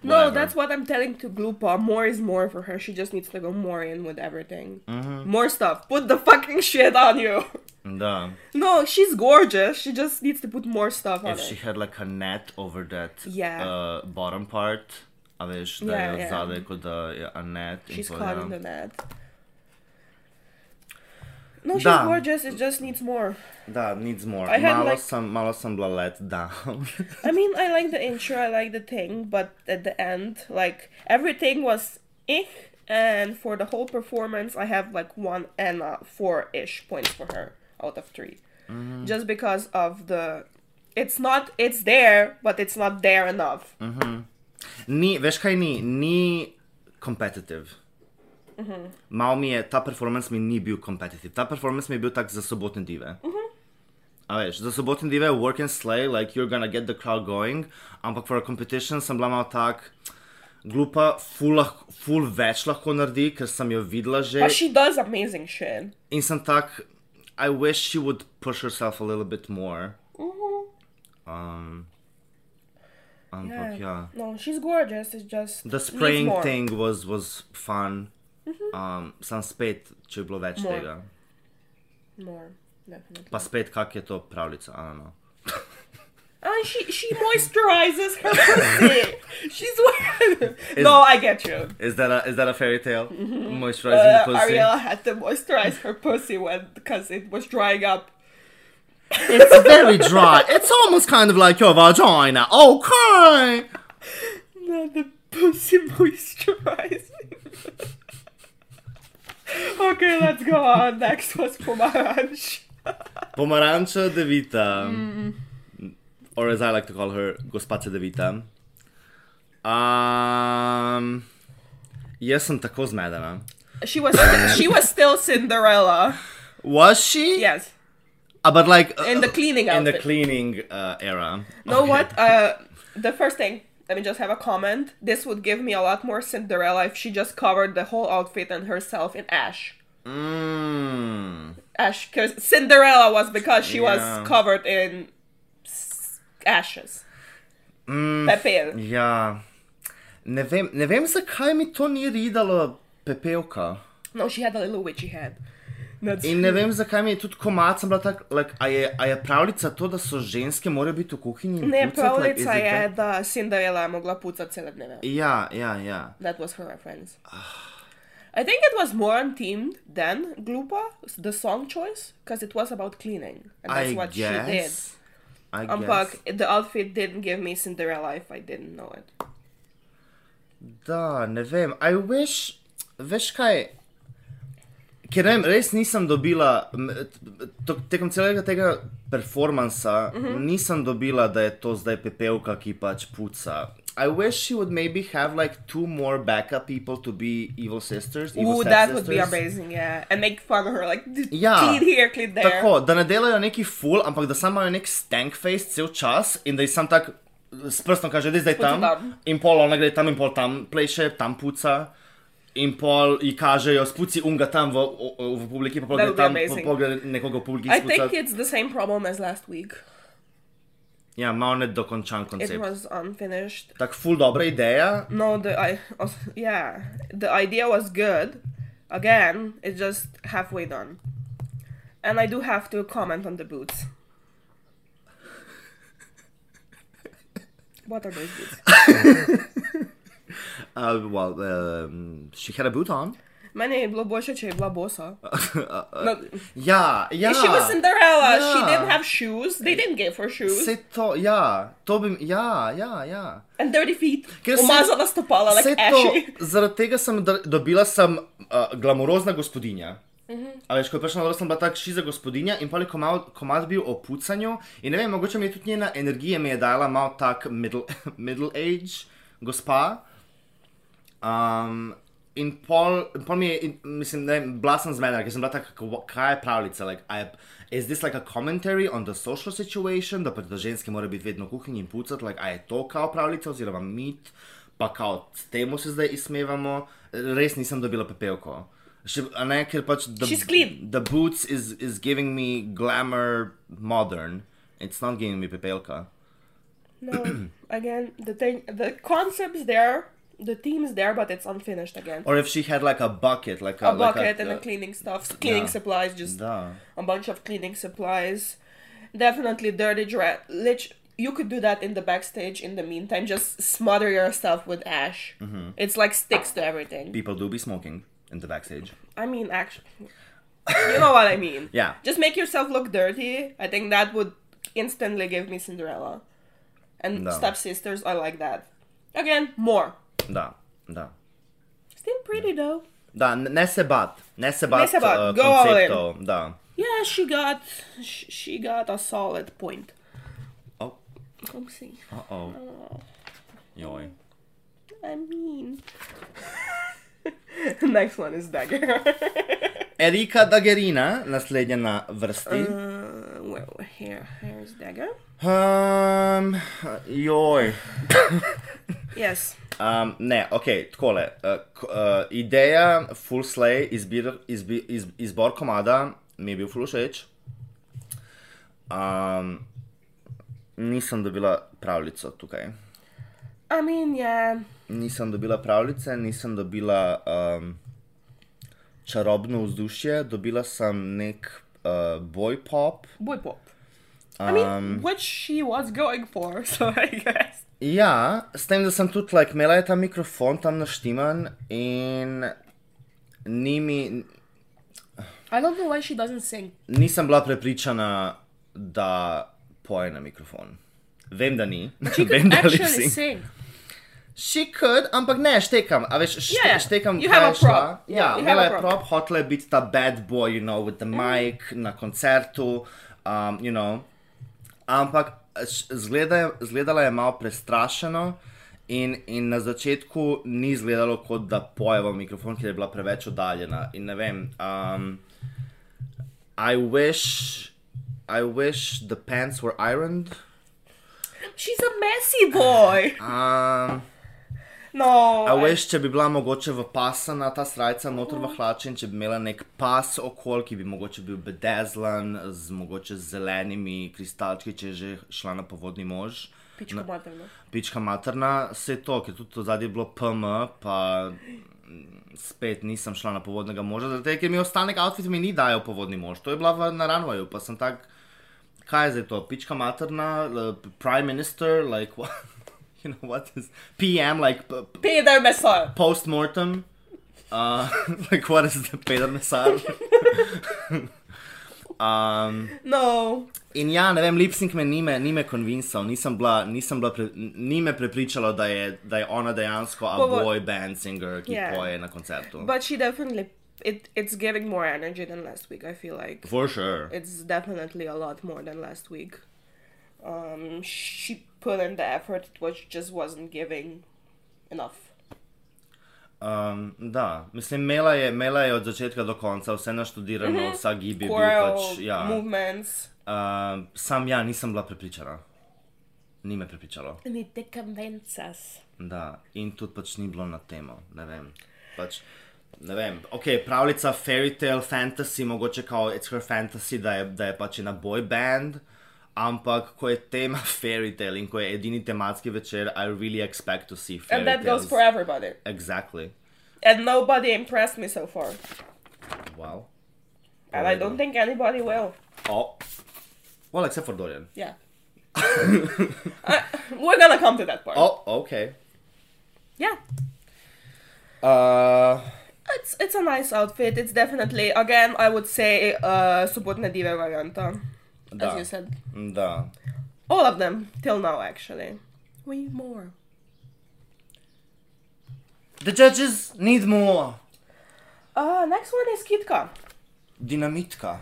No, Whatever. that's what I'm telling to Glupa. More is more for her. She just needs to go more in with everything. Mm-hmm. More stuff. Put the fucking shit on you. *laughs* Da. No, she's gorgeous. She just needs to put more stuff on If it. she had like a net over that Yeah. uh, bottom part, a veš, da Yeah, je yeah. yeah. zadaj kot da je a net. in She's pol, caught ja. in the net. No, she's Da. gorgeous. It just needs more. Da, needs more. I had, Malo, like- sem, malo sem bila *laughs* let down. I mean, I like the intro. I like the thing, but at the end, like everything was ich. And for the whole performance, I have like one and uh, four ish points for her out of 3 Mm-hmm. just because of the. It's not. It's there, but it's not there enough. Mm-hmm. ni, veš kaj ni, ni competitive. Mhm. Mal mi je, ta performance mi ni bil competitive. Ta performance mi je bil tak za sobotne dive. Mhm. A veš, za sobotne dive, work and slay, like you're gonna get the crowd going, ampak for a competition sem bila malo tak glupa, full, lah, full več lahko naredi, ker sem jo videla že. But she does amazing shit. in sem tak, I wish she would push herself a little bit more. Mm-hmm. Um, ampak ja. No, she's gorgeous. It's just The needs spraying more. Mm-hmm. thing was, was fun. Um, sam spet, če je bilo več More. tega. More definitely. Pa spet, kak je to pravljica, ano. And Ah, she she moisturizes her *laughs* pussy. She's *laughs* wearing. no, I get you. Is that a, is that a fairy tale? Moisturizing Uh, pussy. Ariella had to moisturize her pussy when because it was drying up. *laughs* It's very dry. It's almost kind of like your vagina. Okay. Now the pussy *laughs* moisturizing. okay, let's go on. Next was Pomaranch. Pomaranča devita, mm. Mm-hmm. or as I like to call her, gospa Cedevita. Um, jaz sem tako zmedena. *laughs* She was she was still Cinderella. Was she? Yes, Uh, but like uh, in the cleaning in outfit. the cleaning uh, era. know what? Uh, the first thing. Let me just have a comment. This would give me a lot more Cinderella if she just covered the whole outfit and herself in ash. Mm. Ash, because Cinderella was because she Yeah. was covered in s- ashes. Mm. Pepel. Ja, ne vem, ne vem, zakaj mi to ni ridalo pepelka. No, she had a little witchy head. That's In ne vem, zakaj mi je tudi komad sem bila tak, like, a, je, a je pravljica to, da so ženske morajo biti v kuhinji? in Ne, pucati, like, is pravljica it je, that? da uh, Cinderella je mogla pucati cele dneve. Ja, ja, ja. That was her reference. Ah. I think it was more on theme than Glupa, the song choice, because it was about cleaning. And that's I what she did. guess. I guess. Unpack, the outfit didn't give me Cinderella if I didn't know it. Da, ne vem. I wish, veš kaj. Ker ne vem, res nisem dobila, m, t- to- tekom celega tega performansa, mm Mhm. -hmm. nisem dobila, da je to zdaj pepelka, ki pač puca. I wish she would maybe have like two more backup people to be evil sisters. Evil Ooh, step that would be sisters. amazing, yeah. And make fun of her, like, d- Ja. clean here, clean there. Tako, da ne delajo neki full, ampak da samo imajo nek stank face cel čas in da jih sam tak s prstom kaže, da je zdaj tam, tam. in pol ona gre tam in pol tam pleše, tam puca. In pol ji kažejo, spuci unga tam v, v, v publiki, pa pol That gre would be tam, pa amazing. pol gre nekoga v publiki I think spuca. it's the same problem as last week. Ja, malo nedokončan It koncept. was unfinished. Tako ful dobra ideja, No, the I also, yeah, the idea was good. Again, it's just halfway done. And I do have to comment on the boots. What are those boots? uh, well, um, she had a boot on. Meni je bilo boljše, če je bila *laughs* bosa. Uh, No, Ja, ja. she was Cinderella. She Yeah. didn't have shoes. They didn't give her shoes. Se to, ja, to bi, ja, ja, ja. And dirty feet. Ker se- Umazana stopala, like Vse ashy. *laughs* to, zaradi tega sem da- dobila sem uh, glamurozna gospodinja. Mm. Mhm. A veš, ko je prišla na odr, sem bila tako šiza gospodinja in pali komad, komad bil o pucanju. In ne vem, mogoče mi je tudi njena energija mi je dala malo tak middle, *laughs* middle age, gospa. Um, in pol, in pol mi je, in, mislim, ne vem, bila sem zmedena, ker sem bila tako, kako- kaj je pravljica, like, I, is this like a commentary on the social situation, da pač da ženske mora biti vedno v kuhinji in pucati, like, a je to kao pravljica oziroma mit, pa kao s temu se zdaj izmevamo, res nisem dobila pepelko. Še, a ne, ker pač the, She's clean. the boots is, is giving me glamour modern, it's not giving me pepelka. No, again, the thing, the concepts there, the themes there, but it's unfinished again. Or if she had like a bucket, like a, a bucket like and a cleaning stuff, cleaning yeah. supplies, just Da. a bunch of cleaning supplies. Definitely dirty dress. Lich, you could do that in the backstage. In the meantime, just smother yourself with ash. It's like sticks to everything. People do Mm-hmm. be smoking in the backstage. I mean, actually, you know what I mean. *laughs* Yeah. Just make yourself look dirty. I think that would instantly give me Cinderella. And No. stepsisters are like that. Again, more. Da, da. Still pretty though. Da, n- ne se bat, ne se bat, se bat, uh, go all in. konceptov. Da. Yeah, she got sh- she got a solid point. Oh. Come see. Uh-oh. Joj. I mean. *laughs* Next one is dagger. *laughs* Erika Dagerina, naslednja na vrsti. uh, where, where- here, here is dagger. Um, joj. Yes. Um, ne, ok, takole. Uh, k- uh, ideja, full slay, izbir, izbi, iz, izbor komada mi je bil full všeč. Um, nisem dobila pravljico tukaj. I mean, yeah. nisem dobila pravljice, nisem dobila um, čarobno vzdušje, dobila sem nek uh, boj pop. Boy pop. I Um. mean, what she was going for, *laughs* so I guess. Ja, s tem, da sem tudi like, imela je ta mikrofon tam naštiman in ni mi, I don't know why she doesn't sing. nisem bila prepričana, da poje na mikrofon. Vem, da ni. *laughs* Vem, da Actually, lip-sync. sing. She could, ampak ne, štekam, a veš, šte, Yeah, yeah, štekam, Ja, you kaj have a je šla. prop. Ja, You imela have a je prop. Mm. prop, hotela je biti ta bad boy, you know, with the mic na koncertu, um, you know. Ampak š- zgleda, je- zgledala je malo prestrašeno in, in na začetku ni izgledalo, kot da pojeva v mikrofon, ker je bila preveč oddaljena. In ne vem, um, I wish, I wish the pants were ironed. She's a messy boy. Um, No. A veš, če bi bila mogoče v pasana ta srca, notor v hlače, in če bi imela nek pas okol, ki bi mogoče bil bedezlan, z mogoče z zelenimi kristalčki, če je že šla na povodni mož. Pičko materno. Pička materna, vse to, ker tudi to zadnje je bilo PM, pa mm, spet nisem šla na povodnega moža, zaradi tega, ker mi ostanek outfit mi ni dajal povodni mož, to je bila v naranvaju, pa sem tak, kaj je zdaj to, pička materna, eh, prime minister, like *laughs* what, you know what is, PM, like p- p- Peter Messar. post mortem. Uh, *laughs* like, what is the Peter Messar? um, No. in ja, ne vem, lipsing me ni me, ni me konvincal, nisem bila, nisem bila pre, ni me prepričala, da je, da je ona dejansko a Povo- boy band singer, ki Yeah. yeah. poje na koncertu. But she definitely it it's giving more energy than last week, I feel like. For sure. It's definitely a lot more than last week. Um she put in the effort which just wasn't giving enough. Um, da, mislim, imela je, imela je od začetka do konca vse naštudirano, mm -hmm. vsa gibje, Mhm. Choral pač, ja. movements. Um, sam ja nisem bila prepričana. Ni me prepričalo. Ni te convenzas. Da, in tudi pač ni bilo na temo, ne vem. Pač, ne vem. Ok, pravljica, fairy tale, fantasy, mogoče kao it's her fantasy, da je, da je pač na boy band, ampak ko je tema *laughs* fairy tale in ko je edini tematski večer, I really expect to see fairy And that tales. goes for everybody. Exactly. And nobody impressed me so far. Wow. And I don't think anybody will. Oh. Well, except for Dorian. Yeah. I- we're gonna come to that part. Oh, okay. Yeah. Uh, It's it's a nice outfit. It's definitely again I would say uh Subotna Diva varianta, as da. you said. Da. All of them till now actually. We need more. The judges need more. Uh next one is Kitka. Dinamitka.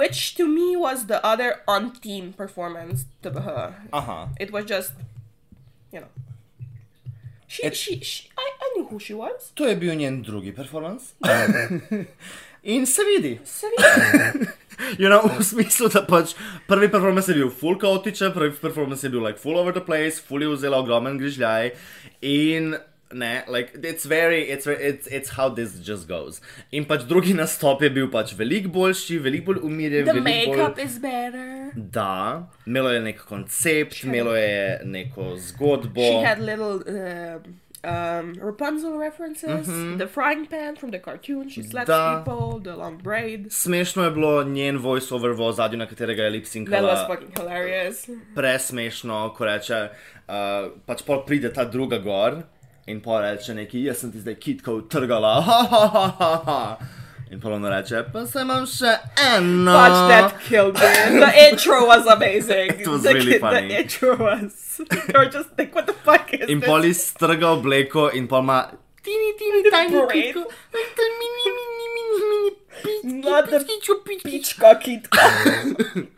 which to me was the other on team performance to her. Aha. It was just, you know. She, It- she, she I, I knew who she *laughs* was. To je bil njen drugi *laughs* performance. In se vidi. Seriously. *laughs* You know, v smislu, da pač prvi performance je bil full kaotičen, prvi performance je bil like full over the place, full je vzela ogromen grižljaj in ne, like it's very, it's, very- it's, it's how this just goes. In pač drugi nastop je bil pač veliko boljši, veliko bolj umirjen, the veliko bolj... makeup is better. Da, imelo je nek koncept, imelo je neko zgodbo. She had little um, um, Rapunzel references, Mm-hmm. the frying pan from the cartoon, she slaps Da. people, the long braid. Smešno je bilo njen voiceover v ozadju, na katerega je That was lipsinkala. fucking hilarious. Presmešno, ko reče, uh, pač pol pride ta druga gor in pol reče neki, jaz sem ti zdaj kitko utrgala, *laughs* ha ha ha ha ha. In ponovno reče, pa se imam še eno. Watch that killed me. *laughs* The intro was amazing. It was the, really the funny. intro was. *laughs* Or just think, what the fuck is In this? pol iztrga obleko in pol ima tini, tini, tini, Braid. kitko. Mini, mini, mini, mini, pi- Not the Pichka *laughs* Kitka. *laughs*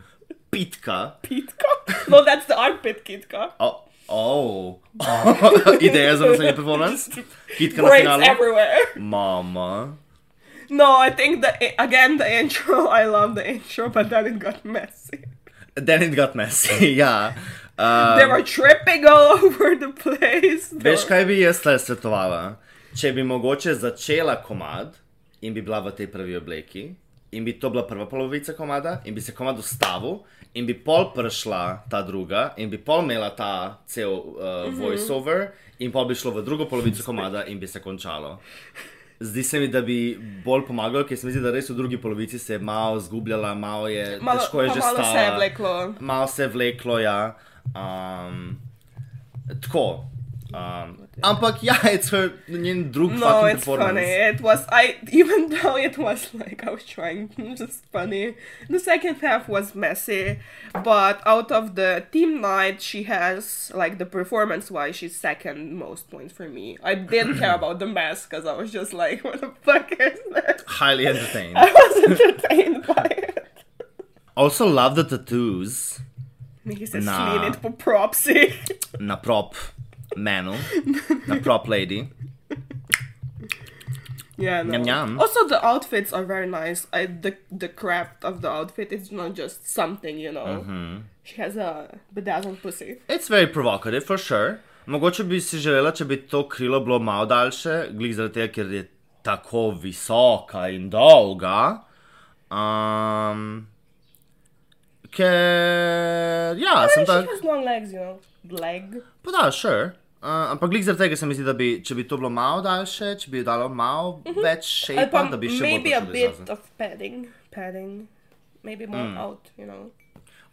pitka. Pitka? No, that's the armpit Kitka. Oh. Oh. *laughs* Ideja za naslednji performance? Kitka na Braids finalu. everywhere. Mama. No, I think the again the intro. *laughs* I love the intro, but then it got messy. Then it got messy, *laughs* ja. Uh, they were tripping all *laughs* over the place. They veš, were- kaj bi jaz tle svetovala? Če bi mogoče začela komad in bi bila v tej prvi obleki, in bi to bila prva polovica komada, in bi se komad ustavil, in bi pol prišla ta druga, in bi pol imela ta cel uh, Mhm. voiceover, in pol bi šlo v drugo polovico komada, in bi se končalo. Zdi se mi, da bi bolj pomagalo, ker se mi zdi, da res v drugi polovici se je malo zgubljala, malo je Malo- težko je pa že malo se je stala. vleklo. Malo se je vleklo, ja. Um, tako. Um, ampak ja, it's her, njen drug No, fucking it's funny. performance. It was I even *laughs* though it was like I was trying *laughs* just funny. The second half was messy, but out of the team night, she has like the performance wise, she's second most points for me. I didn't care about the mess because I was just like, *laughs* what the fuck is that? *laughs* Highly entertained. I was entertained by it. Also love the tattoos He says, Nah. "Clean it for *laughs* propsy." na prop menu, na prop lady. Yeah, no. Yum, yum. Also, the outfits are very nice. I, the the craft of the outfit is not just something, you know. Mm-hmm. She has a bedazzled pussy. It's very provocative for sure. Mogoče bi si želela, če bi to krilo bilo malo daljše, glih zaradi tega, ker je tako visoka in dolga. Um, ker, ja, sem She tak. has long legs, you know. Leg. Pa da, sure. Uh, ampak glih zaradi tega se mi zdi, da bi, če bi to bilo malo daljše, če bi jo dalo malo mm -hmm. več I šejpa, pump da bi še bolj Mhm. um, maybe a prišlo do bit izraza. of padding, padding, maybe more Mm. out, you know.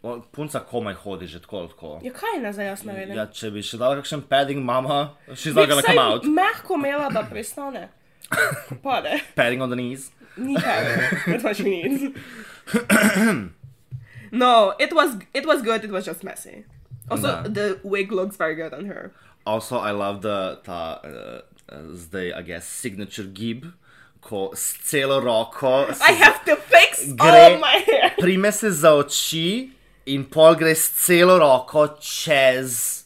O, Punca komaj hodi že tako ali tako. Ja, kaj je nazaj, jaz ne vem. Ja, če bi še dal kakšen padding, mama, she's not Veš, gonna saj come out. Mehko imela, da *coughs* pristane. Pade. Padding on the knees. Nikaj. That's what she needs. no, it was it was good. It was just messy. Also, Nah. the wig looks very good on her. Also, I love the, ta, uh, uh, zdaj, I guess, signature gib, ko s celo roko s- I have to fix Gre- all my *laughs* hair. prime se za oči in pol gre s celo roko čez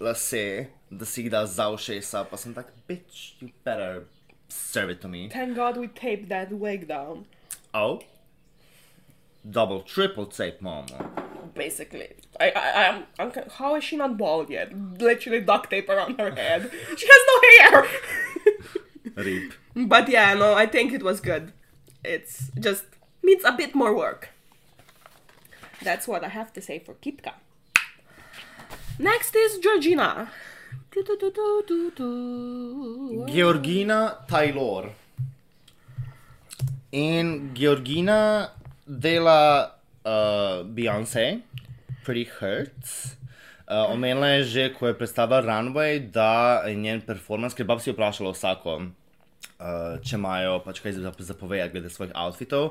lase, da si jih da za ušesa, pa sem tak, bitch, you better serve it to me. Thank God we taped that wig down. Oh. Double, triple tape, mama. Basically, I, I I'm, I'm con- how is she not bald yet? Literally duct tape around her head. She has no hair. Rip. but yeah, no, I think it was good. It's just needs a bit more work. That's what I have to say for Kitka. Next is Georgina. Du, du, du, du, du, du. Georgina Taylor. In Georgina dela uh, Beyoncé, Pretty Hurts. Uh, omenila je že, ko je predstavila Runway, da je njen performance, ker bab si je vprašala vsako, uh, če imajo pač kaj za zapovedati glede svojih outfitov.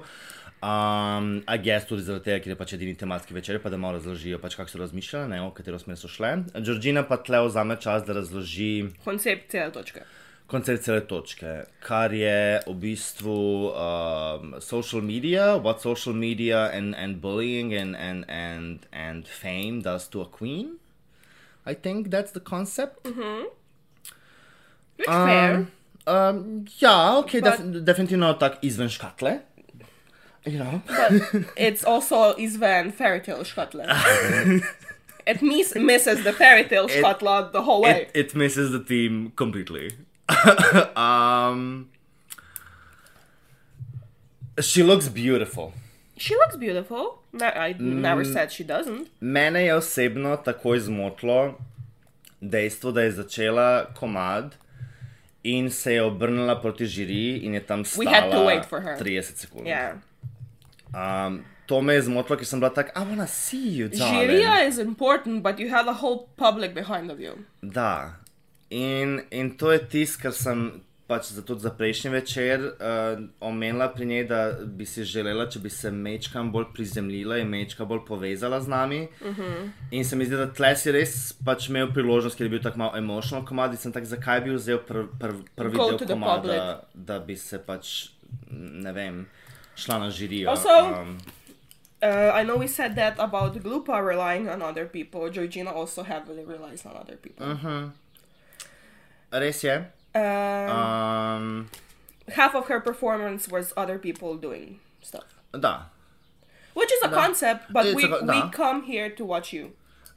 Um, a jaz tudi zaradi tega, ker je pač edini tematski večer, pa da malo razložijo, pač kako so razmišljali, ne, v katero smer so šle. Georgina pa tle vzame čas, da razloži Koncept cela točka. koncert cele točke, kar je v bistvu um, social media, what social media and, and bullying and, and, and, and fame does to a queen. I think that's the concept. Which fair. Um, ja, ok, def definitivno tak izven škatle. You know? It's also izvan fairy tale Scotland. it mis- misses the fairy tale Scotland the whole way. it, it misses the theme completely. *laughs* um, she looks beautiful. she looks beautiful. No, I never said she doesn't. Mene je osebno takoj zmotilo dejstvo, da je začela komad in se je obrnila proti žiri in je tam stala had to wait for her. 30 sekund. Yeah. Um, to me je zmotilo, ker sem bila tak, I wanna see you, darling. Jiria is important, but you have a whole public behind of you. Da. In, in to je tisto, kar sem pač za, tudi za prejšnji večer uh, omenila pri njej, da bi si želela, če bi se mečkam bolj prizemljila in mečka bolj povezala z nami. Uh Mhm. -huh. In se mi zdi, da tle si res pač imel priložnost, ker je bil tako malo emotional komad in sem tak, zakaj bi vzel pr, pr, prvi Go del to the komada, da bi se pač, ne vem, šla na žirijo. um, Also- Uh, I know we said that about Glupa relying on other people. Georgina also heavily relies on other people. Mm-hmm. res je. Um, Um, half of her performance was other people doing stuff, da. which is a concept. But It's we, a- we no. come here to watch *laughs* you.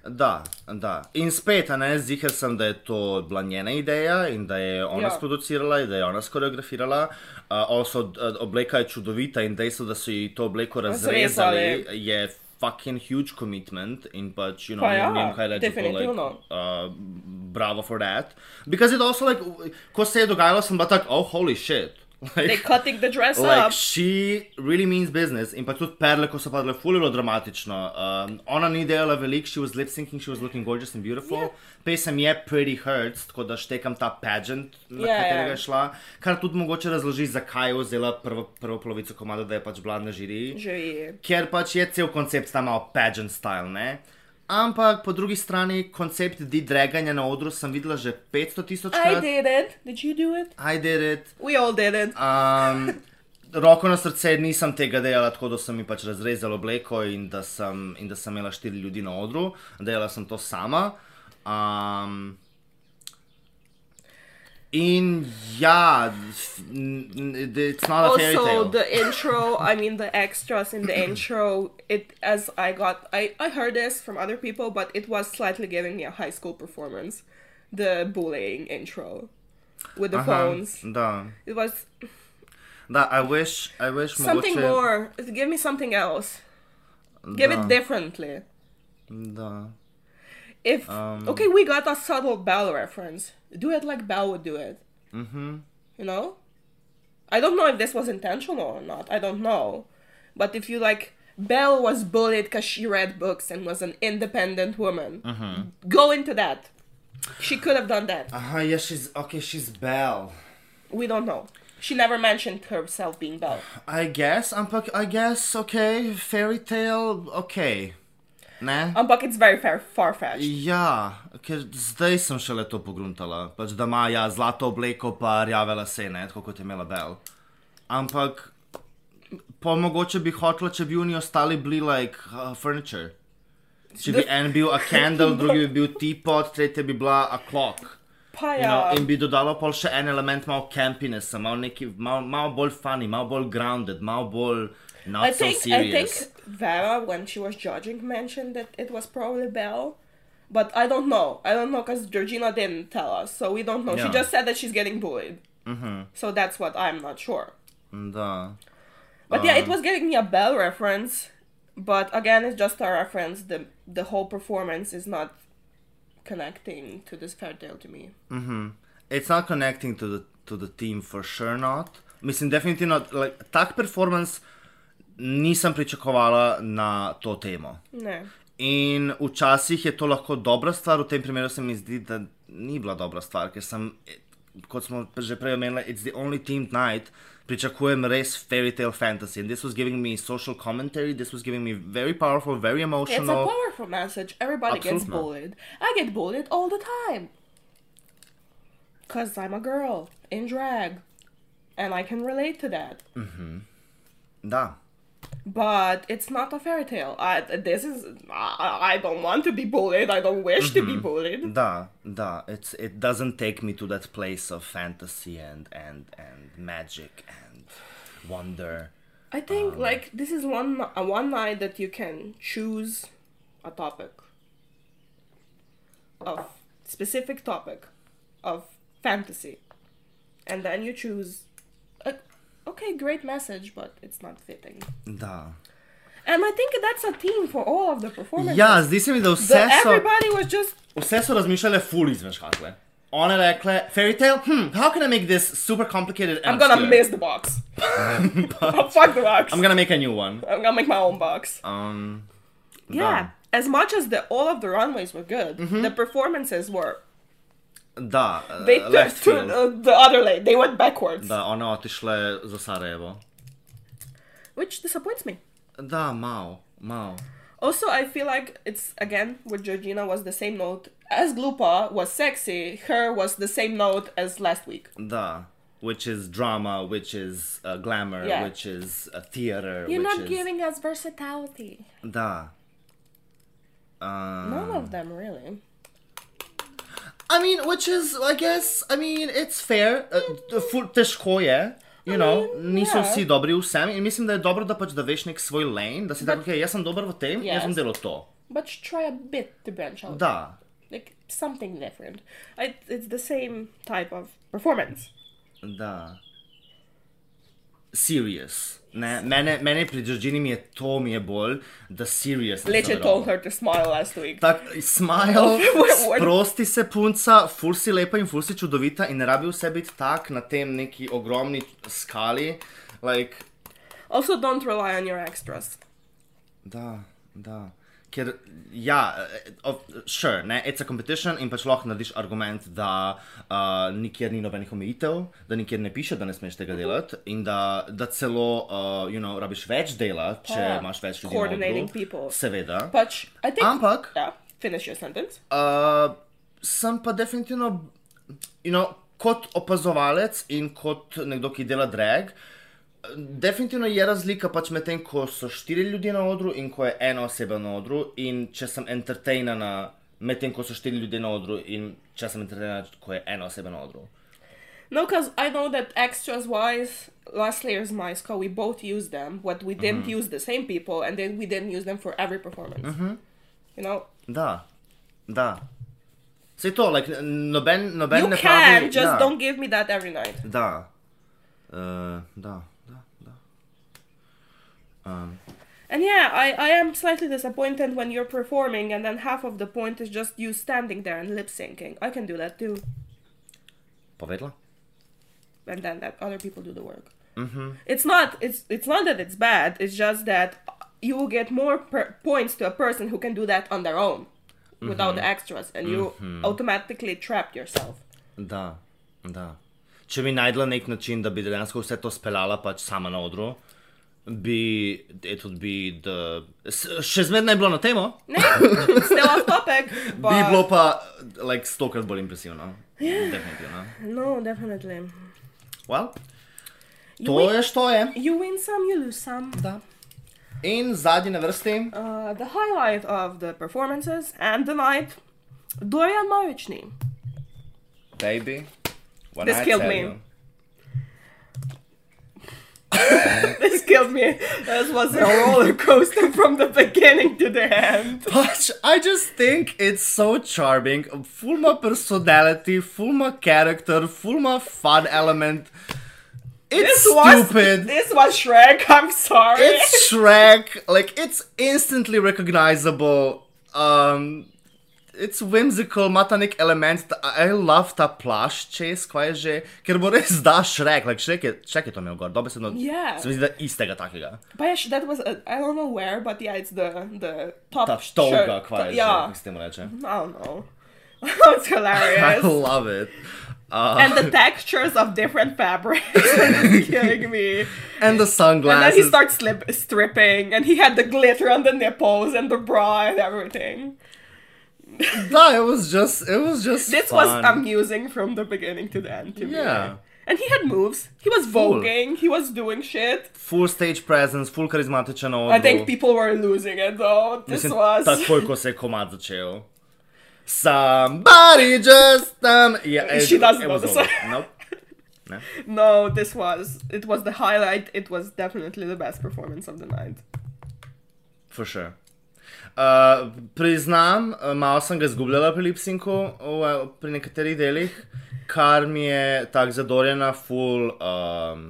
Da, da. In spet, a ne, zihar sem, da je to bila njena ideja in da je ona Ja. ja. sproducirala in da je ona skoreografirala. Uh, also, d- obleka je čudovita in dejstvo, da so ji to obleko razrezali, je fucking huge commitment in pač, you know, Pa ja, ne vem, kaj reči. to, Like, definitivno. uh, bravo for that. Because it also, like, w- ko se je dogajalo, sem bila tak, oh, holy shit. *laughs* Like, They cutting the dress Like, up. she really means business. In pa tudi perle, ko so padle, fulilo dramatično. Um, ona ni delala veliko, she was lip syncing, she was looking gorgeous and beautiful. Ja. Yeah. Pesem je Pretty Hurts, tako da štekam ta pageant, na Ja, yeah, katerega ja. je šla. Kar tudi mogoče razloži, zakaj je vzela prvo, prvo polovico komada, da je pač bila na žiri Jury. ker pač je cel koncept tam malo pageant style, ne. Ampak po drugi strani koncept D-draganja na odru sem videla že 500 tisoč I krat. did it. Did you do it? I did it. We all did it. Um, roko na srce nisem tega delala tako, da sem mi pač razrezala obleko in da sem, in da sem imela štiri ljudi na odru, delala sem to sama. Um, in ja, f- n- n- it's not a fairy also tale. the intro i mean the extras in the intro it as i got I, I heard this from other people but it was slightly giving me a high school performance the bullying intro with the Uh-huh. phones Da, it was da, I wish, I wish something mogoče... more give me something else give it differently Da. if Um, okay we got a subtle bell reference do it like bell would do it mm-hmm. you know i don't know if this was intentional or not i don't know but if you like bell was bullied because she read books and was an independent woman Mm-hmm. go into that she could have done that Aha, yeah, she's okay, she's Belle. we don't know she never mentioned herself being *sighs* bell I guess, ampak I guess, okay, fairy tale, okay. Ne? um, but it's very far far-fetched Ja, ker zdaj sem šele to pogruntala. Pač da ima ja, zlato obleko, pa rjave lase, ne, tako kot je imela Bell. Ampak, pa mogoče bi hotla, če bi oni ostali bili like uh, furniture. Če bi en bil a *laughs* candle, drugi bi bil teapot, tretji bi bila a clock. You know, Paya. in bi dodalo pol še en element malo campinessa, malo, neki, malo, malo bolj funny, malo bolj grounded, malo bolj not I so think I think serious. Vera when she was judging mentioned that it was probably Belle, but I don't know. I don't know because Georgina didn't tell us, so we don't know. She Yeah. just said that she's getting bullied, mm-hmm. so that's what I'm not sure. Da. But Um, yeah, it was giving me a Belle reference, but again, it's just a reference. the The whole performance is not connecting to this fairy tale to me. It's not connecting to the to the team for sure not. Mislim, definitivno like, tak performance nisem pričakovala na to temo. No. In včasih je to lahko dobra stvar, v tem primeru se mi zdi, da ni bila dobra stvar, ker sem, eh, kot smo že prej omenili, it's the only team night, pričakujem res fairy tale fantasy. And this was giving me social commentary, this was giving me very powerful, very It's emotional. a powerful message. Everybody gets Absolutno. bullied. I get bullied all the time. Cause I'm a girl in drag, and I can relate to that. Da. But it's not a fairy tale. I, this is I, I don't want to be bullied. I don't wish to be bullied. Da, da. It's it doesn't take me to that place of fantasy and and and magic and wonder. I think Um, like this is one uh, one night that you can choose a topic of specific topic of fantasy, and then you choose. A, okay, great message, but it's not fitting. Da. And I think that's a theme for all of the performances. Ja, zdi se mi, da The, vse so, everybody was just vse so razmišljale ful izven škatle. One rekle, fairy tale, hmm, how can I make this super complicated and I'm gonna obscure?" *laughs* miss the box. *laughs* oh, fuck the box. I'm gonna make a new one. I'm gonna make my own box. Um, yeah. As much as the all of the runways were good, Mm-hmm. the performances were da, uh, *laughs* they left took to field. uh, the other lane. They went backwards, Da, one otišle za Sarajevo. which disappoints me. Da, malo, malo. Also, I feel like it's again with Georgina was the same note as Glupa was sexy. Her was the same note as last week. Da. Which is drama, which is uh, glamour, Yeah. which is uh, theater. You're which not is... giving us versatility. Da. Uh, None of them really. I mean, which is, I guess, I mean, it's fair. Uh, ful težko je. You know, niso ja. vsi dobri v vsem in mislim, da je dobro, da pač da veš nek svoj lane, da si tako, okay, jaz sem dober v tem, yes. jaz bom Yes. delal to. But try a bit to branch out. Da, like something different. I, it's the same type of performance. da. Serious. Ne, mene, mene pri Džorđini mi je to mi je bolj, da serious. ne Legit zaveram. told her to smile last week. Tak, smile, *laughs* What- what- prosti se punca, ful si lepa in ful si čudovita in ne rabi vse biti tak na tem neki ogromni skali. Like, Also, don't rely on your extras. da, da. Ker, ja, eh, of, sure, ne, it's a competition in pač lahko narediš argument, da uh, nikjer ni nobenih omejitev, da nikjer ne piše, da ne smeš tega delati in da, da celo, uh, you know, rabiš več dela, če Pa, imaš več ljudi. na coordinating odru. people. Seveda. But I think. Ampak- Yeah, finish your sentence. Uh, sem pa definitivno, you know, kot opazovalec in kot nekdo, ki dela drag, definitivno je razlika pač med tem, ko so štiri ljudje na odru in ko je ena oseba na odru. In če sem entertainana med tem, ko so štiri ljudje na odru in če sem entertainana, ko je ena oseba na odru. No, because I know that extras wise, last year's MySCO, we both used them, but we didn't use the same people, and then we didn't use them for every performance. You know, Da, da. Vse to, like, n- noben, noben you ne can, pravi. da, just don't give me that every night. Da, uh, da, da. da. And yeah, I, I am slightly disappointed when you're performing and then half of the point is just you standing there and lip syncing. I can do that too. Povedla? And then that other people do the work. Mm-hmm. It's not it's it's not that it's bad. It's just that you will get more per- points to a person who can do that on their own without the extras, and you automatically trap yourself. Da, da. Če bi najdla nek način, da bi dejansko vse to speljala pač sama na odru, bi it would be the... S- Še zmeraj ne bi bilo na temo, No, it's still off topic. But bi bilo pa like, stokrat bolj impresivno. Definitivno. No, definitely. Well, You to win, je što je. you win some, you lose some. In zadnji na vrsti, Uh, the highlight of the performances and the night, Dorian Marichny. *laughs* baby. when This I killed tell me. you. This killed me. This was a roller coaster from the beginning to the end. Pač, I just think it's so charming. Full ma personality, full ma character, full ma fun element. It's This was stupid. This was Shrek. *laughs* I'm sorry. *laughs* it's Shrek. Like it's instantly recognizable. Um, it's whimsical, ima ta nek element. ta- I love ta plaš čez, kaj je že, ker bo res da Shrek. Like Shrek je, Shrek je to imel gor, dobesedno. Yeah. Se mi zdi, da istega takega. But yeah, sh- that was uh, I I don't know where, but yeah, it's the the top Ta štolga, shirt. kaj je že, Yeah, kako se temu reče. I don't know. *laughs* it's *laughs* I hilarious. love it. and the textures of different fabrics *laughs* *laughs* are killing me. And the And then sunglasses. he starts slip- stripping, and he had the glitter on the nipples and the bra and everything. no, it was just it was just This was fun. amusing from the beginning to the end. To me. Yeah. And he had moves. He was Cool. voguing. He was doing shit. full stage presence, full karizmatičen odgovor. I think people were losing it though. This Mislim, was takoj, ko se je komad začel. Somebody just um, yeah, She doesn't it know was the over. song. Nope. no. This was it was the highlight. It was definitely the best performance of the night. For sure. Uh, priznam, uh, malo sem ga izgubljala pri Lipsinku, v- pri nekaterih delih, kar mi je tako zadorjena, full um,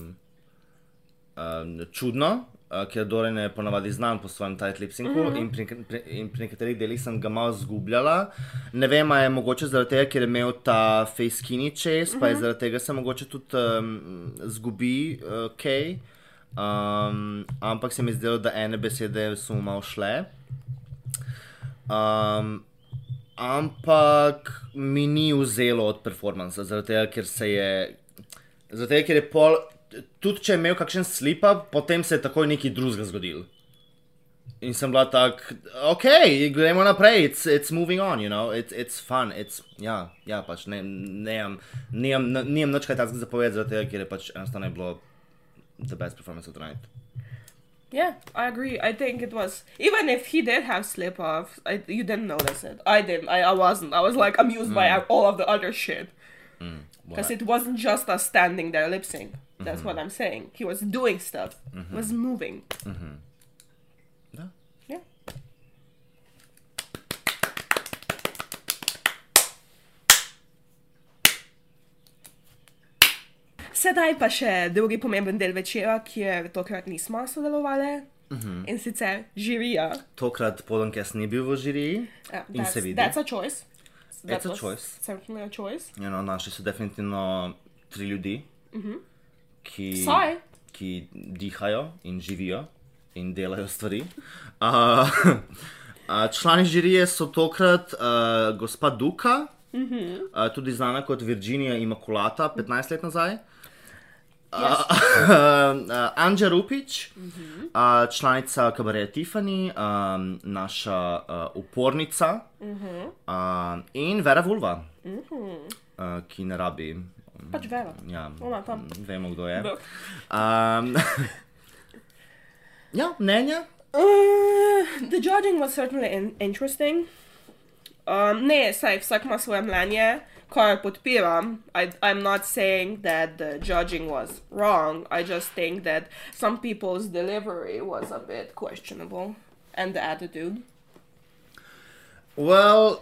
um, čudno, uh, ker Doren je ponavadi znan po svojem tight Lipsinku mm -hmm. in, pri, nek- pri, in pri nekaterih delih sem ga malo izgubljala. Ne vem, ali je mogoče zaradi tega, ker je imel ta face skinny chase, mm -hmm. pa je zaradi tega se mogoče tudi um, zgubi uh, Kay. Um, ampak se mi je zdelo, da ene besede so mu malo šle. Um, ampak mi ni vzelo od performansa, zaradi tega, ker se je. Zaradi tega, ker je pol. Tudi če je imel kakšen slip-up, potem se je takoj nekaj drugega zgodil. In sem bila tak, ok, gremo naprej, it's, it's moving on, you know, it's, it's fun, it's, ja, ja pač ne, nejem, nejem, nejem nič kaj takega zapovedati, zaradi tega, ker je pač enostavno je bilo the best performance of the night. Yeah, I agree. I think it was even if he did have slip offs, I, you didn't notice it. I didn't. I, I wasn't. I was like amused by all of the other shit because it wasn't just us standing there lip sync. That's what I'm saying. He was doing stuff. Was moving. Yeah. Yeah. Sedaj pa še drugi pomemben del večera, kjer tokrat nismo sodelovali Mhm. in sicer žirija. Tokrat Podankes ni bil v žiriji Ja, in that's- se vidi. That's a choice. That a was choice. Mhm. Certainly a choice. You know, našli so definitivno tri ljudi, ki, Vsaj. ki dihajo in živijo in delajo stvari. *laughs* Uh, uh, člani žirije so tokrat uh, gospa Duka, uh, tudi znana kot Virginija Imakulata, 15 let nazaj. *laughs* Uh, uh, Anđa Rupič, uh -huh. uh, članica kabareja Tiffany, um, naša uh, upornica uh -huh. uh, in Vera Vulva, uh -huh. uh, ki ne rabi. Pač vera. Ja, Ona tam. vemo, kdo je. Da. Um, *laughs* ja, mnenja. Uh, the judging was certainly in interesting. Um, ne, saj vsak ima svoje mnenje, kar podpiram. I, I'm not saying that the judging was wrong. I just think that some people's delivery was a bit questionable and the attitude. Well,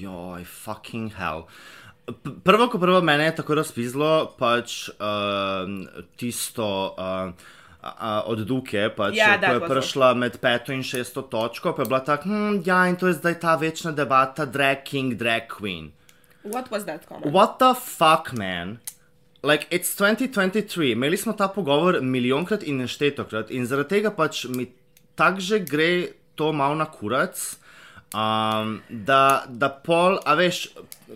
joj, fucking hell. P- Prvo, ko prvo mene je tako razpizlo, pač um, tisto um, a- a, od Duke, pač, Ja, ko that je was prišla med peto in šesto točko, pa je bila tako, hm, ja, in to je zdaj ta večna debata, drag king, drag queen. What was that comment? What the fuck, man? Like, it's 2023, imeli smo ta pogovor milijonkrat in neštetokrat, in zaradi tega pač mi tako že gre to malo na kurac, um, da, da pol, a veš,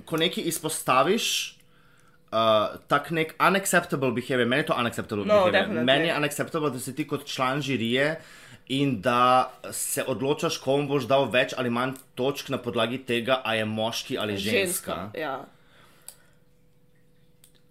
ko nekaj izpostaviš, uh, tak nek unacceptable behavior, meni je to unacceptable No, behavior. definitely. Meni je unacceptable, da si ti kot član žirije in da se odločaš, komu boš dal več ali manj točk na podlagi tega, a je moški ali ženska. Yeah.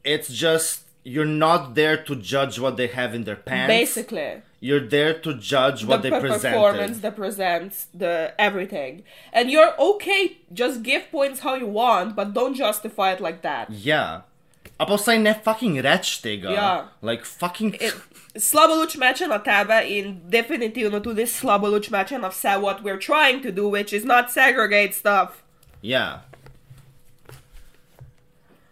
it's just you're not there to judge what they have in their pants. Basically. you're there to judge what the they per- performance present. that presents the everything and you're okay just give points how you want but don't justify it like that Yeah. A pa vsaj ne fucking reč tega. Ja. Like fucking. It- slabo luč meče na tebe in definitivno tudi slabo luč meče na vse what we're trying to do which is not segregate stuff Yeah.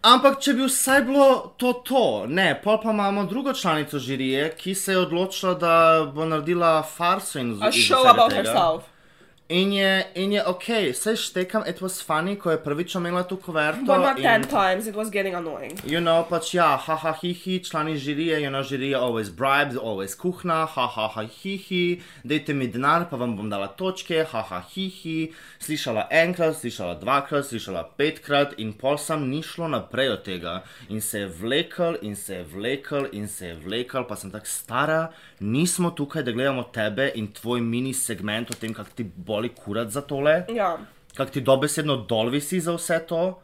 Ampak, če bi vsaj bilo to to, ne, pol pa imamo drugo članico žirije, ki se je odločila, da bo naredila farso in a zelo. show about herself In je, in je ok, vse štekam, it was funny, ko je prvič omenila to kuverto. but not in- 10 times it was getting annoying You know, pač ja, haha, hihi, člani žirije, you know, žirija always bribes, always kuhna, haha, hihi, dajte mi denar, pa vam bom dala točke, haha, hihi. Slišala enkrat, slišala dvakrat, slišala petkrat in pol sem ni šlo naprej od tega. In se je vlekel, in se je vlekel, in se je vlekel, pa sem tako stara, nismo tukaj, da gledamo tebe in tvoj mini segment o tem, kako ti boli kurat za tole. yeah kako ti dobesedno dol visi za vse to.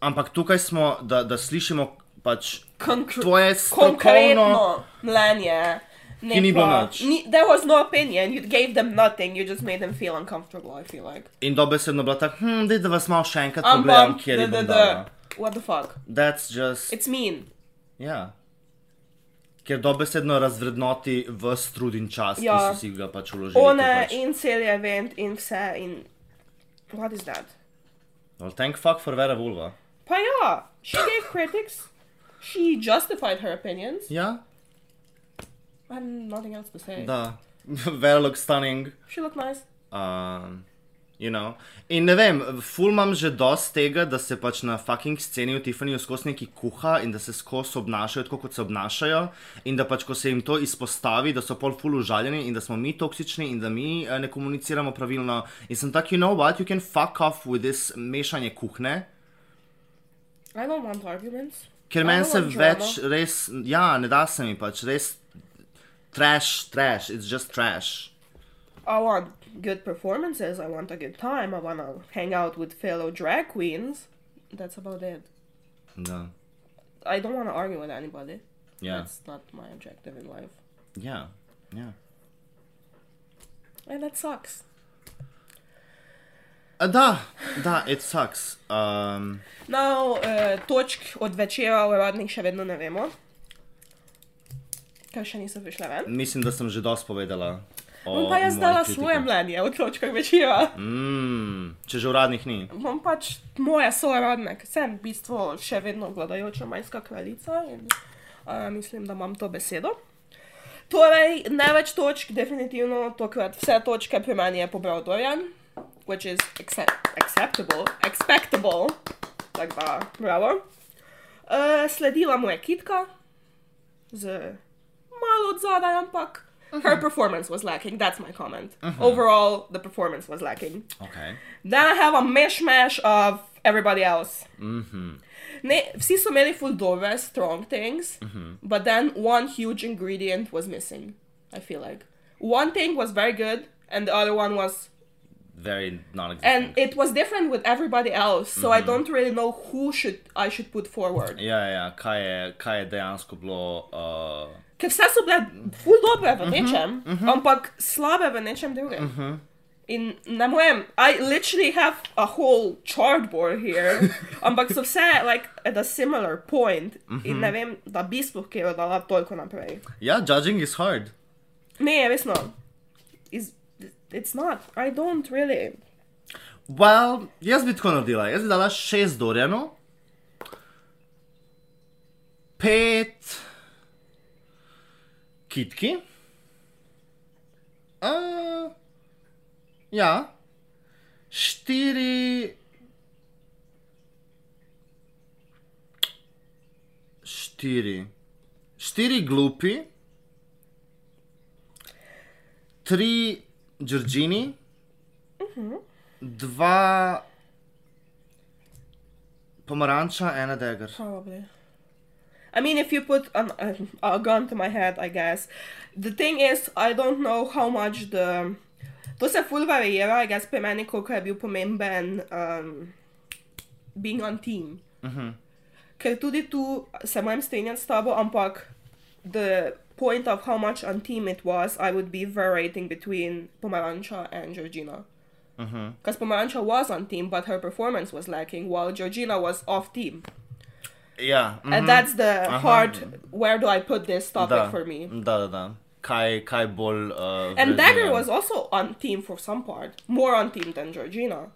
Ampak tukaj smo, da, da slišimo pač Concre- tvoje strokovno. konkretno mnenje. ne Ki ni bilo pa- nič. ni- There was no opinion, you gave them nothing, you just made them feel uncomfortable, I feel like. In dobesedno bila tako, hm, daj, da vas malo še enkrat I'm pogledam, bummed, kjer je da, da, bilo. da. What the fuck? That's just. It's mean. Ja. Ker dobesedno razvrednoti v strud in čas, ja. Ja. ki so si ga pač vložili. Ona ker pač. in celi event in vse in... What is that? Well, thank fuck for Vera Vulva. Pa ja, she gave critics, she justified her opinions. Ja, I have nothing else to say. da. *laughs* Vera looks stunning. She looked nice. Um, you know. In ne vem, ful imam že dost tega, da se pač na fucking sceni v Tiffanyju skozi neki kuha in da se skozi obnašajo tako, kot se obnašajo. In da pač, ko se jim to izpostavi, da so pol ful užaljeni in da smo mi toksični in da mi eh, ne komuniciramo pravilno. In sem tak, you know what, you can fuck off with this mešanje kuhne. I don't want arguments. Ker I meni don't se want drama. več res, ja, ne da se mi pač res trash, trash, it's just trash. I want good performances. I want a good time. I want to hang out with fellow drag queens. That's about it. Da. I don't want to argue with anybody. Ja, That's not my objective in life. ja, ja. And that sucks. A Da, da, it sucks. Um, Now, uh, točk od večera uradnih še vedno ne vemo. Ker še niso prišle ven. mislim, da sem že dosti povedala. o Bom pa jaz moji dala kritiki. svoje mnenje o točkah večera. Mm, če že uradnih ni. Bom pač moja sorodna, ker sem v bistvu še vedno vladajoča majska kraljica in uh, mislim, da imam to besedo. Torej, največ točk, definitivno tokrat vse točke pri meni je pobral Dorian, which is accept acceptable, expectable, tako da, bravo. Uh, sledila mu je kitka, z malo od zadaj, ampak her performance was lacking, that's my comment. Overall, the performance was lacking. Okay. Then I have a mishmash of everybody else. Ne, vsi so imeli full dobre, strong things, but then one huge ingredient was missing, I feel like. One thing was very good, and the other one was. Very non-existent. And it was different with everybody else, so I don't really know who should I should put forward. Ja, ja, kaj je, kaj je dejansko bilo. Uh, Ker vse so bile ful dobre v nečem, ampak slabe v nečem drugem. In ne morem, I literally have a whole chartboard here, ampak so vse like, at a similar point in ne vem, da bi sploh kjer dala toliko naprej. ja, judging is hard. Ne, resno. Is, it's not, I don't really. Well, jaz bi tako naredila. Jaz bi dala šest Dorjano, pet kitki. Uh, ja, štiri. Štiri. Štiri glupi, tri Džordžini dva pomaranča, ena degar. Probably. I mean, if you put an, a, a gun to my head, I guess. The thing is, I don't know how much the. To se ful variira, I guess, pri meni, koliko je bil pomemben um, being on team. Ker tudi tu se moram strinjati s tabo, ampak the point of how much on team it was, I would be varying between Pomarancha and Georgina. Because Pomarancha was on team, but her performance was lacking, while Georgina was off team. Ja, mhm, And that's the hard. Where do I put this topic da. for me? Da, da, da. Kaj, kaj bolj. Uh, And Dagger vredno. was also on team for some part, more on team than Georgina.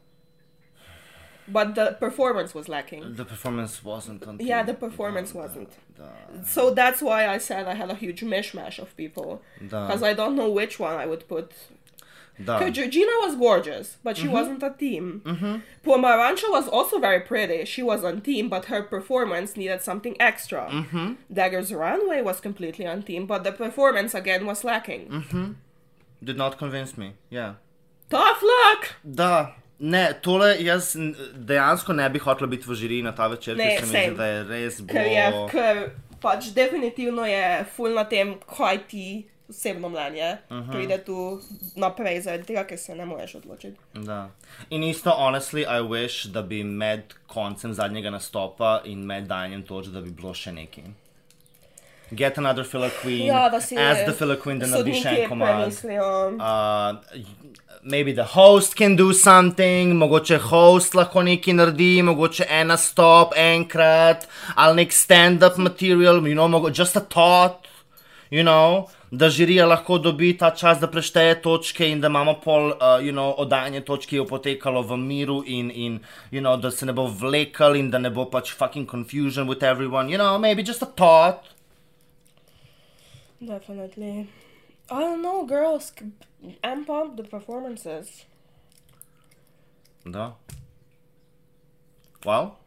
But the performance was lacking. The performance wasn't on. Yeah, point. the performance wasn't. Da, So that's why I said I had a huge mishmash of people. Da. Because I don't know which one I would put. da. 'Cause Georgina was gorgeous, but Mm-hmm. she wasn't a team. Pomarancha was also very pretty. She was on team, but her performance needed something extra. Mm-hmm. Dagger's runway was completely on team, but the performance again was lacking. Mm. Did not convince me. Yeah. Tough luck! Da. Ne, tole jaz n- dejansko ne bi hotel biti v žiri na ta večer, Ne, ker se mi zdi, same. da je res Ker je, bilo. ker pač definitivno je ful na tem, kaj ti osebno mnenje uh Mm-hmm. -huh. pride tu naprej, zaradi tega, ker se ne moreš odločiti. Da. In isto, honestly, I wish, da bi med koncem zadnjega nastopa in med dajanjem točk, da bi bilo še nekaj. Get another filler queen, Ja, da si as the filler queen, da naredi še en sodniki komad. premislijo. Uh, maybe the host can do something, mogoče host lahko nekaj naredi, mogoče en nastop enkrat, ali nek stand-up material, you know, mogo, just a thought, you know, da žirija lahko dobi ta čas, da prešteje točke in da imamo pol, uh, you know, oddajanje točk, ki je potekalo v miru in, in you know, da se ne bo vlekel in da ne bo pač fucking confusion with everyone, you know, maybe just a thought. Definitely. I don't know, girls c- amp up the performances. Da. Wow.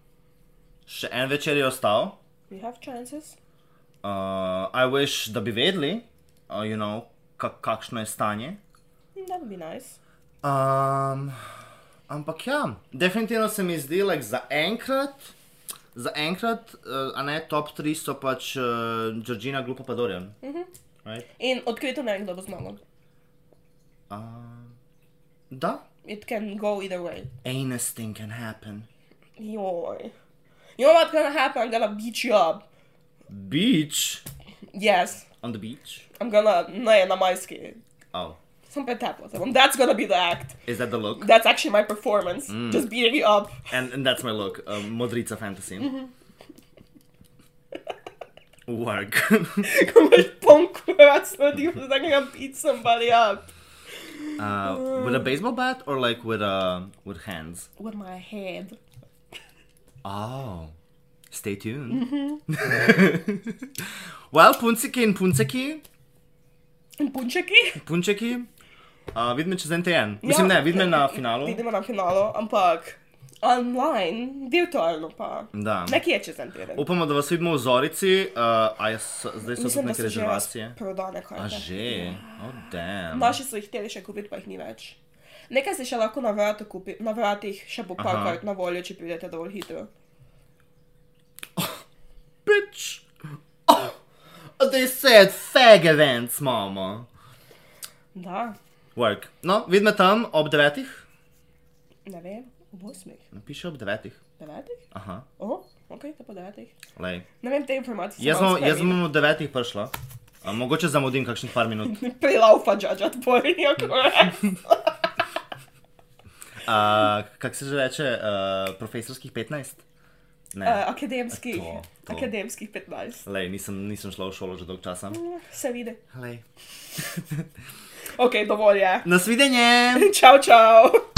Še en večer je ostal. We have chances. Uh, I wish, da bi vedeli, uh, you know, kak kakšno je stanje. Mm, That would be nice. Um, ampak ja, definitivno se mi zdi, da like, za enkrat, za enkrat, uh, a ne top 3 so pač uh, Georgina Glupa Padorjan. Mm -hmm. right? In odkrito ne vem, kdo bo zmagal. Um, Da, It can go either way. anus thing can happen. Joj. You know what's gonna happen? I'm gonna beat you up. Beach? Yes. On the beach? I'm gonna... Ne, na majski. Oh, Sam pretapla se bom. That's gonna be the act. is that the look? That's actually my performance. Just beating you up. *laughs* And, and that's my look, uh, Modrica fantasy. Mm-hmm. *laughs* Work. *laughs* Uh, Komaš punk rats na ti, I'm gonna beat somebody up. uh, with a baseball bat or like with uh, with hands? With my head. Oh, stay tuned. Mm-hmm. *laughs* well, punciki in punciki, In punčeki? punčiki, uh, vidimo čez en teden. Mislim, ne, vidimo na finalu. Ja, Vidimo na finalu, ampak online, virtualno pa. Da. Nekje čez en teden. Upamo, da vas vidimo v Zorici, uh, a jaz, zdaj so tudi Mislim, da neke so že rezervacije. prodane karte. A že, oh damn. Naši so jih hteli še kupiti, pa jih ni več. Nekaj si še lahko na, vratu kupi, na vratih, še bo par Aha. kart na voljo, če pridete dovolj hitro. Bitch! Oh, they said fag events, mama. Da, Work. No, vidimo tam ob devetih. ne vem, ob osmih, Napiši ob devetih. devetih? Aha, Oho, ok, te po devetih. lej. Ne vem te informacije. Jaz bom, jaz *laughs* bom v devetih prišla. A, mogoče zamudim kakšnih par minut. Prilaufa, džadžat, *laughs* borijo, korak. Uh, Kako se že reče, uh, profesorskih 15? Ne. Eh, Akademskih, To, to. akademskih 15. Lej, nisem, nisem šla v šolo že dolgo časa. Se vidi. Lej. Ok, dovolj je. Nasvidenje! *laughs* Čau, čau.